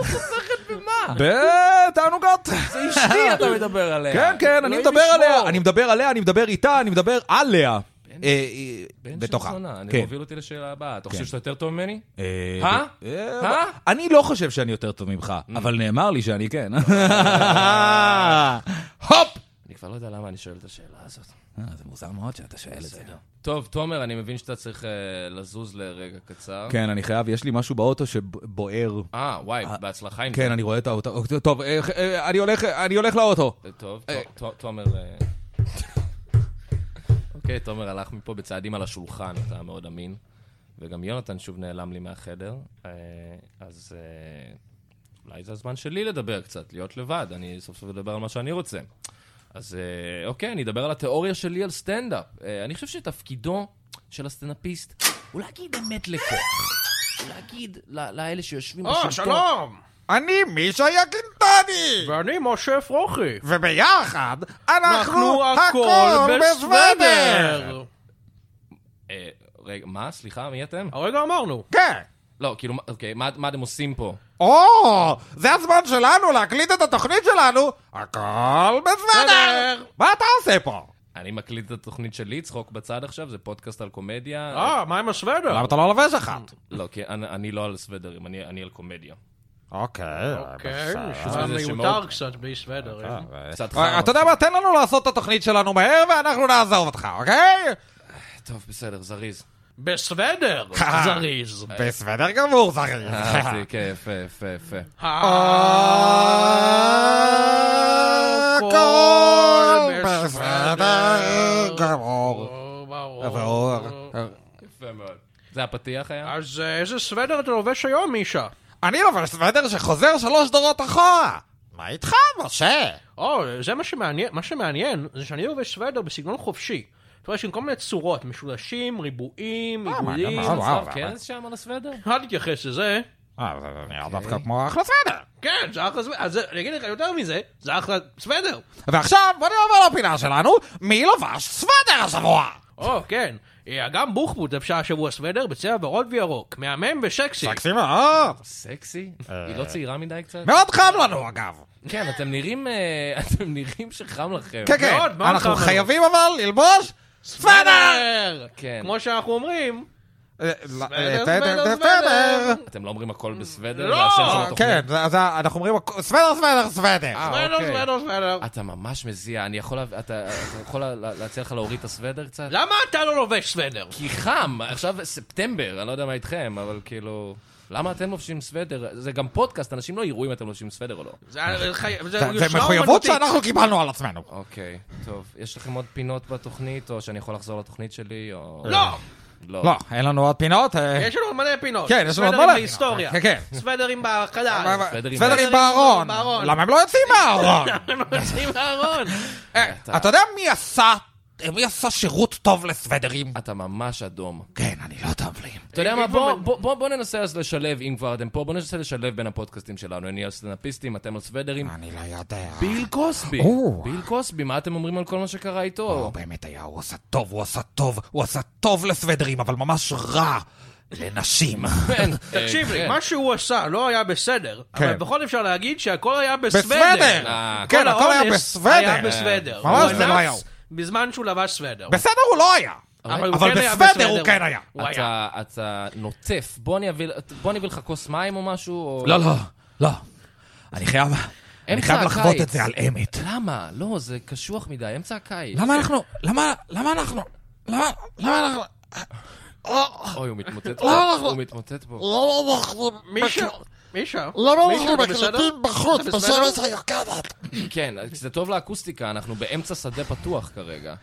[SPEAKER 2] מה?
[SPEAKER 4] בתענוגות.
[SPEAKER 2] לא זה אשתי אתה מדבר עליה.
[SPEAKER 4] כן, כן, אני
[SPEAKER 2] אלוהים
[SPEAKER 4] מדבר עליה,
[SPEAKER 2] ישמור.
[SPEAKER 4] אני מדבר עליה, אני מדבר איתה, אני מדבר עליה.
[SPEAKER 2] בן-
[SPEAKER 4] אה, אה,
[SPEAKER 2] בן של
[SPEAKER 4] בתוכה.
[SPEAKER 2] זונה, אני
[SPEAKER 4] כן.
[SPEAKER 2] מוביל אותי לשאלה הבאה. אתה חושב
[SPEAKER 4] כן.
[SPEAKER 2] שאתה יותר טוב ממני?
[SPEAKER 4] אה,
[SPEAKER 2] הא?
[SPEAKER 4] אה,
[SPEAKER 2] הא?
[SPEAKER 4] אני לא חושב שאני יותר טוב ממך,
[SPEAKER 2] Mm.
[SPEAKER 4] אבל נאמר לי שאני כן.
[SPEAKER 2] אה.
[SPEAKER 4] הופ!
[SPEAKER 2] אני כבר לא יודע למה אני שואל את השאלה הזאת.
[SPEAKER 4] אה, זה מוזר מאוד שאתה שואל את זה.
[SPEAKER 2] טוב, תומר, אני מבין שאתה צריך אה, לזוז לרגע קצר.
[SPEAKER 4] כן, אני חייב, יש לי משהו באוטו שבוער.
[SPEAKER 2] אה, וואי, בהצלחה עם זה.
[SPEAKER 4] כן, אני רואה את האוטו. טוב, אה, אה, אני הולך- אני הולך לאוטו.
[SPEAKER 2] אה, טוב, ת- ת- תומר... אה, אוקיי, תומר הלך מפה בצעדים על השולחן, אתה מאוד אמין. וגם יונתן שוב נעלם לי מהחדר, אה, אז אה, אולי זה הזמן שלי לדבר קצת, להיות לבד, אני סוף סוף אדבר על מה שאני רוצה. אז אה, אוקיי, אני אדבר על התיאוריה שלי על סטנדאפ. אה, אני חושב שתפקידו של הסטנדאפיסט הוא להגיד אמת לכוח. הוא להגיד ל- לאלה שיושבים
[SPEAKER 3] לא,
[SPEAKER 2] בשלטון.
[SPEAKER 6] אני מישה יקינטני,
[SPEAKER 3] ואני משה פרוכי.
[SPEAKER 6] וביחד אנחנו הכל בסוודר.
[SPEAKER 2] אה, רגע, מה? סליחה, מי אתם?
[SPEAKER 3] הרגע אמרנו.
[SPEAKER 6] כן.
[SPEAKER 2] לא, כאילו, מה- אוקיי, מה, מה אתם עושים פה?
[SPEAKER 6] או, זה הזמן שלנו להקליט את התוכנית שלנו, הכל בסוודר. מה אתה עושה פה?
[SPEAKER 2] אני מקליט את התוכנית שלי, צחוק בצד עכשיו, זה פודקאסט על קומדיה. אה,
[SPEAKER 3] אה, מה עם הסוודר?
[SPEAKER 6] למה אתה לא לובש אחת?
[SPEAKER 2] לא, כי אני, אני לא על סוודרים, אני, אני על קומדיה.
[SPEAKER 6] אוקיי,
[SPEAKER 3] אוקיי,
[SPEAKER 6] בסדר.
[SPEAKER 2] נשמע
[SPEAKER 3] נשמע
[SPEAKER 2] זה
[SPEAKER 3] מיותר
[SPEAKER 2] שמאוד-
[SPEAKER 3] קצת בלי סוודר. אה.
[SPEAKER 2] קצת חם.
[SPEAKER 6] אה, אתה יודע מה? תן לנו לעשות את התוכנית שלנו מהר ואנחנו נעזוב אותך, אוקיי?
[SPEAKER 2] טוב, בסדר, זריז.
[SPEAKER 3] בסוודר! זריז.
[SPEAKER 6] בסוודר גמור,
[SPEAKER 4] אה,
[SPEAKER 6] זכיר.
[SPEAKER 2] אהבתי, כן, יפה, יפה, יפה.
[SPEAKER 3] אה,
[SPEAKER 6] הכל בסדר גמור.
[SPEAKER 3] ברור.
[SPEAKER 4] אה,
[SPEAKER 6] עבור.
[SPEAKER 2] יפה מאוד. זה הפתיח היה?
[SPEAKER 3] אז אה, איזה סוודר אתה לובש היום, מישה?
[SPEAKER 6] אני
[SPEAKER 4] לא
[SPEAKER 6] לובש סוודר שחוזר שלוש דורות אחורה. מה איתך, משה?
[SPEAKER 3] או, זה מה שמעניין, מה שמעניין זה שאני לובש סוודר בסגנון חופשי. אתה רואה שהם כל מיני צורות, משולשים, ריבועים,
[SPEAKER 4] אה, מה,
[SPEAKER 3] עיגולים.
[SPEAKER 4] גם- אה, וואו,
[SPEAKER 2] צלב
[SPEAKER 4] אבל-
[SPEAKER 2] קרס שם על הסוודר?
[SPEAKER 3] אל תתייחס לזה.
[SPEAKER 4] אה, זה נראה דווקא כמו אחלה סוודר.
[SPEAKER 3] כן, זה אחלה סוודר. אז זה- אני אגיד לך יותר מזה, זה אחלה סוודר.
[SPEAKER 4] ועכשיו בוא נעבור לפינה שלנו, מי לבש סוודר השבוע?
[SPEAKER 3] או, כן. אה, גם בוחבוט לבשה השבוע סוודר בצבע ורוד וירוק. מהמם ושקסי.
[SPEAKER 4] סקסי מאוד.
[SPEAKER 2] סקסי? היא לא צעירה מדי קצת?
[SPEAKER 4] מאוד חם לנו אגב.
[SPEAKER 2] כן, אתם נראים אה, אתם נראים שחם לכם.
[SPEAKER 4] כן, כן,
[SPEAKER 3] מאוד, מאוד חם
[SPEAKER 4] אנחנו
[SPEAKER 3] לנו.
[SPEAKER 4] חייבים אבל ללבוש סוודר.
[SPEAKER 3] סוודר!
[SPEAKER 2] כן.
[SPEAKER 3] כמו שאנחנו אומרים,
[SPEAKER 4] אה,
[SPEAKER 3] סוודר,
[SPEAKER 4] אה,
[SPEAKER 3] סוודר,
[SPEAKER 4] סוודר,
[SPEAKER 3] סוודר.
[SPEAKER 4] סוודר.
[SPEAKER 2] אתם לא אומרים הכל בסוודר?
[SPEAKER 3] לא! אה,
[SPEAKER 2] זה השם של
[SPEAKER 4] אה,
[SPEAKER 2] התוכנית.
[SPEAKER 4] כן, זה- זה- אנחנו אומרים הכ- סוודר, סוודר, סוודר.
[SPEAKER 3] סוודר,
[SPEAKER 2] אוקיי.
[SPEAKER 3] סוודר, סוודר.
[SPEAKER 2] אתה ממש מזיע, אני יכול להב- אתה אתה יכול לה- להציע לך להוריד את הסוודר קצת?
[SPEAKER 3] למה אתה לא לובש סוודר?
[SPEAKER 2] כי חם, עכשיו ספטמבר, אני לא יודע מה איתכם, אבל כאילו... למה אתם לובשים סוודר? זה גם פודקאסט, אנשים לא יראו אם אתם לובשים סוודר או לא.
[SPEAKER 3] זה חי- זה
[SPEAKER 4] אה, זה-
[SPEAKER 3] יושרה
[SPEAKER 4] זה מחויבות
[SPEAKER 3] אומנותית.
[SPEAKER 4] שאנחנו קיבלנו על עצמנו.
[SPEAKER 2] אוקיי, טוב. יש לכם עוד פינות בתוכנית, או שאני יכול לחזור לתוכנית שלי, או...
[SPEAKER 3] לא!
[SPEAKER 2] לא.
[SPEAKER 4] לא, אין לנו עוד פינות. אה,
[SPEAKER 3] יש לנו עוד מלא פינות.
[SPEAKER 4] כן, יש לנו עוד
[SPEAKER 3] סוודרים
[SPEAKER 4] מלא
[SPEAKER 3] בהיסטוריה.
[SPEAKER 4] פינות. כן,
[SPEAKER 3] סוודרים בחלל.
[SPEAKER 4] מה- מה-
[SPEAKER 2] סוודרים
[SPEAKER 4] סוודרים
[SPEAKER 3] בארון.
[SPEAKER 4] בארון.
[SPEAKER 3] בארון. כן.
[SPEAKER 4] למה הם לא יוצאים מהארון?
[SPEAKER 3] הם יוצאים מהארון.
[SPEAKER 4] אה, אתה יודע מי עשה מי עשה שירות טוב לסוודרים?
[SPEAKER 2] אתה ממש אדום.
[SPEAKER 4] כן, אני לא טוב לי.
[SPEAKER 2] אתה יודע
[SPEAKER 3] אם-
[SPEAKER 2] מה,
[SPEAKER 3] אם
[SPEAKER 2] בוא,
[SPEAKER 3] המנ-
[SPEAKER 2] בוא, בוא, בוא ננסה אז לשלב, אם כבר אתם פה, בוא ננסה לשלב בין הפודקאסטים שלנו. אני על סטנאפיסטים, אתם על סוודרים.
[SPEAKER 4] אני לא יודע.
[SPEAKER 2] ביל קוסבי.
[SPEAKER 4] או.
[SPEAKER 2] ביל קוסבי, מה אתם אומרים על כל מה שקרה
[SPEAKER 4] הוא
[SPEAKER 2] איתו?
[SPEAKER 4] באמת היה, הוא עשה טוב, הוא עשה טוב, הוא עשה טוב לסוודרים, אבל ממש רע לנשים.
[SPEAKER 2] כן,
[SPEAKER 3] אה, תקשיב לי,
[SPEAKER 2] כן.
[SPEAKER 3] מה שהוא עשה לא היה בסדר, אבל
[SPEAKER 4] אה, כן.
[SPEAKER 3] בכל זאת אפשר להגיד שהכל היה
[SPEAKER 4] בסוודר!
[SPEAKER 3] בסוודר.
[SPEAKER 2] אה,
[SPEAKER 4] כן, הכל היה
[SPEAKER 3] האונס היה
[SPEAKER 4] בסוודר.
[SPEAKER 3] בסוודר.
[SPEAKER 4] ממש
[SPEAKER 3] הוא
[SPEAKER 4] זה לא
[SPEAKER 3] אנס
[SPEAKER 4] היה הוא.
[SPEAKER 3] בזמן שהוא לבש סוודר.
[SPEAKER 4] בסדר הוא לא היה.
[SPEAKER 3] אבל הוא
[SPEAKER 4] אבל
[SPEAKER 3] כן היה
[SPEAKER 4] בסוודר הוא כן היה.
[SPEAKER 3] הוא היה.
[SPEAKER 2] אתה, אתה נוטף, בוא אני אביא, בוא אני אביא לך כוס מים או משהו? או...
[SPEAKER 4] לא, לא, לא. אני חייב, אני חייב
[SPEAKER 2] הקיץ.
[SPEAKER 4] לחוות את זה על אמת.
[SPEAKER 2] למה? לא, זה קשוח מדי, אמצע הקיץ.
[SPEAKER 4] למה אנחנו, למה, למה אנחנו, למה, למה אנחנו,
[SPEAKER 2] אוי, הוא מתמוטט
[SPEAKER 4] לא,
[SPEAKER 2] פה,
[SPEAKER 4] לא.
[SPEAKER 2] הוא מתמוטט פה.
[SPEAKER 4] למה אנחנו,
[SPEAKER 3] מישהו, מישהו,
[SPEAKER 4] למה
[SPEAKER 3] מישהו,
[SPEAKER 4] אנחנו
[SPEAKER 3] אתה בסדר?
[SPEAKER 4] מקלטים בחוץ
[SPEAKER 3] אתה בסדר?
[SPEAKER 4] בשמש היוקדת?
[SPEAKER 2] כן, זה טוב לאקוסטיקה, אנחנו באמצע שדה פתוח כרגע.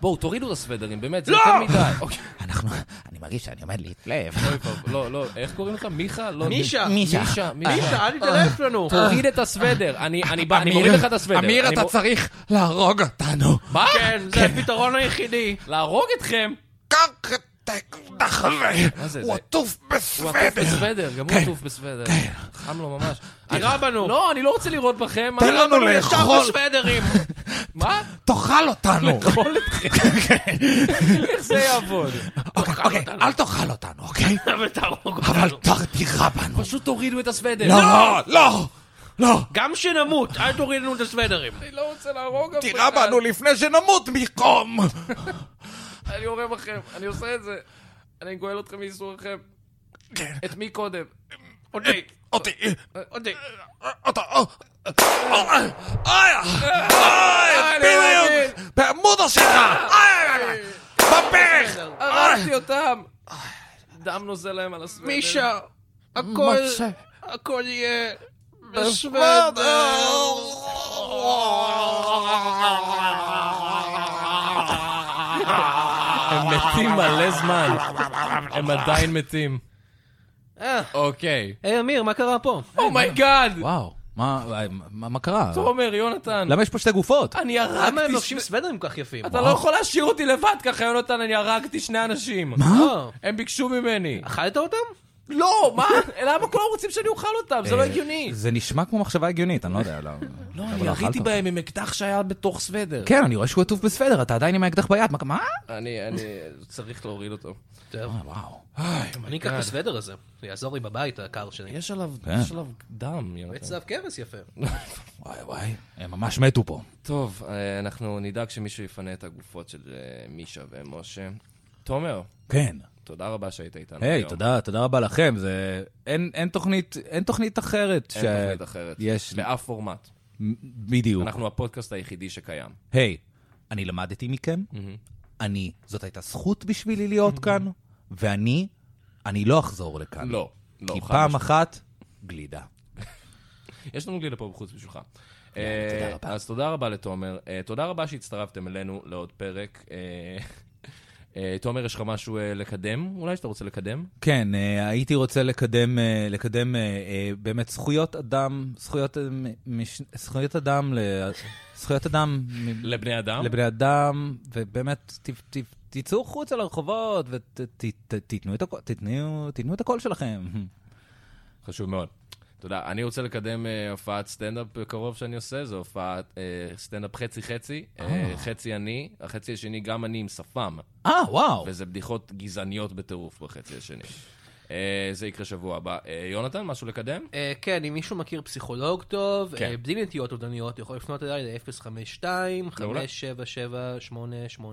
[SPEAKER 2] בואו, תורידו את הסוודרים, באמת, זה
[SPEAKER 3] לא!
[SPEAKER 2] יותר מדי. אוקיי,
[SPEAKER 4] אנחנו, אני מרגיש שאני עומד להתלהב.
[SPEAKER 2] אוי, ואבוי. לא, לא, איך קוראים לך? מיכה? לא,
[SPEAKER 3] מישה.
[SPEAKER 2] מישה. מישה,
[SPEAKER 3] מישה, אל תתעלף לנו.
[SPEAKER 2] תוריד את הסוודר, אני אני בא- אני מוריד לך את הסוודר.
[SPEAKER 4] אמיר,
[SPEAKER 2] אני
[SPEAKER 4] אתה
[SPEAKER 2] מור-
[SPEAKER 4] צריך להרוג אותנו.
[SPEAKER 2] מה?
[SPEAKER 3] כן, זה הפתרון היחידי.
[SPEAKER 2] להרוג אתכם?
[SPEAKER 4] קח את האקדח
[SPEAKER 2] מה זה,
[SPEAKER 4] הזה, הוא
[SPEAKER 2] זה-
[SPEAKER 4] עטוף
[SPEAKER 2] הוא עטוף
[SPEAKER 4] בסוודר.
[SPEAKER 2] בסוודר, גם הוא
[SPEAKER 4] כן.
[SPEAKER 2] עטוף בסוודר. חם לו ממש.
[SPEAKER 3] תירה בנו.
[SPEAKER 2] לא, אני לא רוצה לירות בכם.
[SPEAKER 4] תן
[SPEAKER 2] אני-
[SPEAKER 4] לנו
[SPEAKER 3] אבל הוא לא, ישר
[SPEAKER 4] לאכול,
[SPEAKER 3] בסוודרים.
[SPEAKER 2] מה?
[SPEAKER 4] תאכל אותנו.
[SPEAKER 2] לאכול אתכם.
[SPEAKER 4] כן.
[SPEAKER 2] איך זה יעבוד?
[SPEAKER 4] אוקיי, אוקיי, אל תאכל אותנו, אוקיי?
[SPEAKER 3] אבל תהרוג
[SPEAKER 4] אבל
[SPEAKER 3] אותנו.
[SPEAKER 4] ת- תירה בנו.
[SPEAKER 2] פשוט תורידו את הסוודר.
[SPEAKER 4] לא, לא, לא.
[SPEAKER 3] גם שנמות, אל תוריד לנו את הסוודרים.
[SPEAKER 2] אני לא רוצה להרוג אף
[SPEAKER 4] תירה בנו לפני שנמות מקום.
[SPEAKER 2] אני הורג בכם, אני עושה את זה. אני גואל אתכם מייסורכם.
[SPEAKER 4] כן.
[SPEAKER 2] את מי קודם?
[SPEAKER 3] אותי,
[SPEAKER 4] אותי.
[SPEAKER 3] אותי.
[SPEAKER 4] אותה. אוי, אוי, בדיוק. בעמוד השלך. בפרך.
[SPEAKER 2] הרגתי אותם! דם נוזל להם על הסוודר.
[SPEAKER 3] מישה, הכל,
[SPEAKER 4] מצה.
[SPEAKER 3] הכל יהיה בסוודר.
[SPEAKER 4] בסוודר.
[SPEAKER 2] הם מתים מלא זמן. הם עדיין מתים. אוקיי.
[SPEAKER 3] אה, היי אמיר, מה קרה פה?
[SPEAKER 4] Oh
[SPEAKER 2] אומייגאד!
[SPEAKER 7] וואו, מה- מה מה קרה?
[SPEAKER 2] תומר, יונתן.
[SPEAKER 7] למה יש פה שתי גופות?
[SPEAKER 2] אני
[SPEAKER 3] למה הם
[SPEAKER 2] הרגתי...
[SPEAKER 3] לובשים סוודרים כל כך יפים?
[SPEAKER 2] אתה לא יכול להשאיר אותי לבד ככה, יונתן, אני הרגתי שני אנשים. מה?
[SPEAKER 3] אה,
[SPEAKER 2] הם ביקשו ממני.
[SPEAKER 3] אכלת אותם?
[SPEAKER 2] לא, מה? למה כולם רוצים שאני אוכל אותם? זה לא הגיוני.
[SPEAKER 7] אה, זה נשמע כמו מחשבה הגיונית, אני לא יודע למה.
[SPEAKER 2] לא,
[SPEAKER 7] אבל
[SPEAKER 2] אני
[SPEAKER 7] אכלת
[SPEAKER 2] הריתי
[SPEAKER 7] אותם.
[SPEAKER 2] בהם עם אקדח שהיה בתוך סוודר.
[SPEAKER 7] כן, אני רואה שהוא עטוף בסוודר, אתה עדיין עם האקדח ביד, מה- מה?
[SPEAKER 2] אני, אני צריך להוריד אותו.
[SPEAKER 7] אה, וואו.
[SPEAKER 3] אני אקח את הסוודר הזה, זה יעזור לי בבית הקר שלי.
[SPEAKER 2] כן. יש כן. עליו,
[SPEAKER 7] כן.
[SPEAKER 2] יש עליו דם,
[SPEAKER 3] באמת
[SPEAKER 2] יונתן.
[SPEAKER 3] צלב קרס יפה.
[SPEAKER 7] וואי וואי, הם ממש מתו פה.
[SPEAKER 2] טוב, אה, אנחנו נדאג שמישהו יפנה את הגופות של אה, מישה ומשה. תומר,
[SPEAKER 7] כן.
[SPEAKER 2] תודה רבה שהיית איתנו.
[SPEAKER 7] היי,
[SPEAKER 2] היום.
[SPEAKER 7] תודה, תודה רבה לכם, זה... אין, אין תוכנית, אין תוכנית אחרת.
[SPEAKER 2] אין תוכנית אחרת.
[SPEAKER 7] יש,
[SPEAKER 2] באף פורמט.
[SPEAKER 7] מ- בדיוק.
[SPEAKER 2] אנחנו הפודקאסט היחידי שקיים.
[SPEAKER 7] היי, אני למדתי מכם, אני, זאת הייתה זכות בשבילי להיות כאן, ואני, אני לא אחזור לכאן.
[SPEAKER 2] לא, לא.
[SPEAKER 7] כי
[SPEAKER 2] חד
[SPEAKER 7] פעם
[SPEAKER 2] משמעית.
[SPEAKER 7] אחת, גלידה.
[SPEAKER 2] יש לנו גלידה פה בחוץ בשבילך. אה, אז תודה רבה לתומר. אה, תודה רבה שהצטרפתם אלינו לעוד פרק. אה, אה, תומר, יש לך משהו אה, לקדם? אולי שאתה רוצה לקדם?
[SPEAKER 4] כן, אה, הייתי רוצה לקדם, אה, לקדם אה, אה, באמת זכויות אדם, זכויות, אה, מ- מש- זכויות אדם, ל- זכויות אדם מ-
[SPEAKER 2] לבני אדם?
[SPEAKER 4] לבני אדם, ובאמת, ת- ת- תצאו החוצה לרחובות ותיתנו את הקול, תתנו- תיתנו את הקול שלכם.
[SPEAKER 2] חשוב מאוד. תודה. אני רוצה לקדם אה, הופעת סטנדאפ בקרוב שאני עושה, זו הופעת אה, סטנדאפ חצי-חצי. אה, חצי אני, החצי השני גם אני עם שפם,
[SPEAKER 4] אה, וואו.
[SPEAKER 2] וזה בדיחות גזעניות בטירוף בחצי השני. אה, זה יקרה שבוע הבא. אה, יונתן, משהו לקדם?
[SPEAKER 3] אה, כן, אם מישהו מכיר פסיכולוג טוב,
[SPEAKER 2] כן.
[SPEAKER 3] אה, בלי נטיות אובדניות, יכול לפנות אליי ל-052-577-88.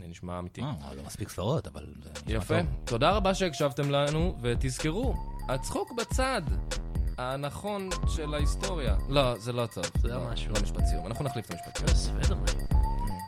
[SPEAKER 2] זה נשמע אמיתי.
[SPEAKER 4] וואו, לא מספיק סברות, אבל... זה נשמע
[SPEAKER 2] יפה.
[SPEAKER 4] טוב.
[SPEAKER 2] תודה רבה שהקשבתם לנו, ותזכרו, הצחוק בצד. הנכון של ההיסטוריה. לא, זה לא טוב.
[SPEAKER 3] זה לא משהו.
[SPEAKER 2] לא משפט סיום, אנחנו נחליף את המשפט סיום.
[SPEAKER 3] בסדר.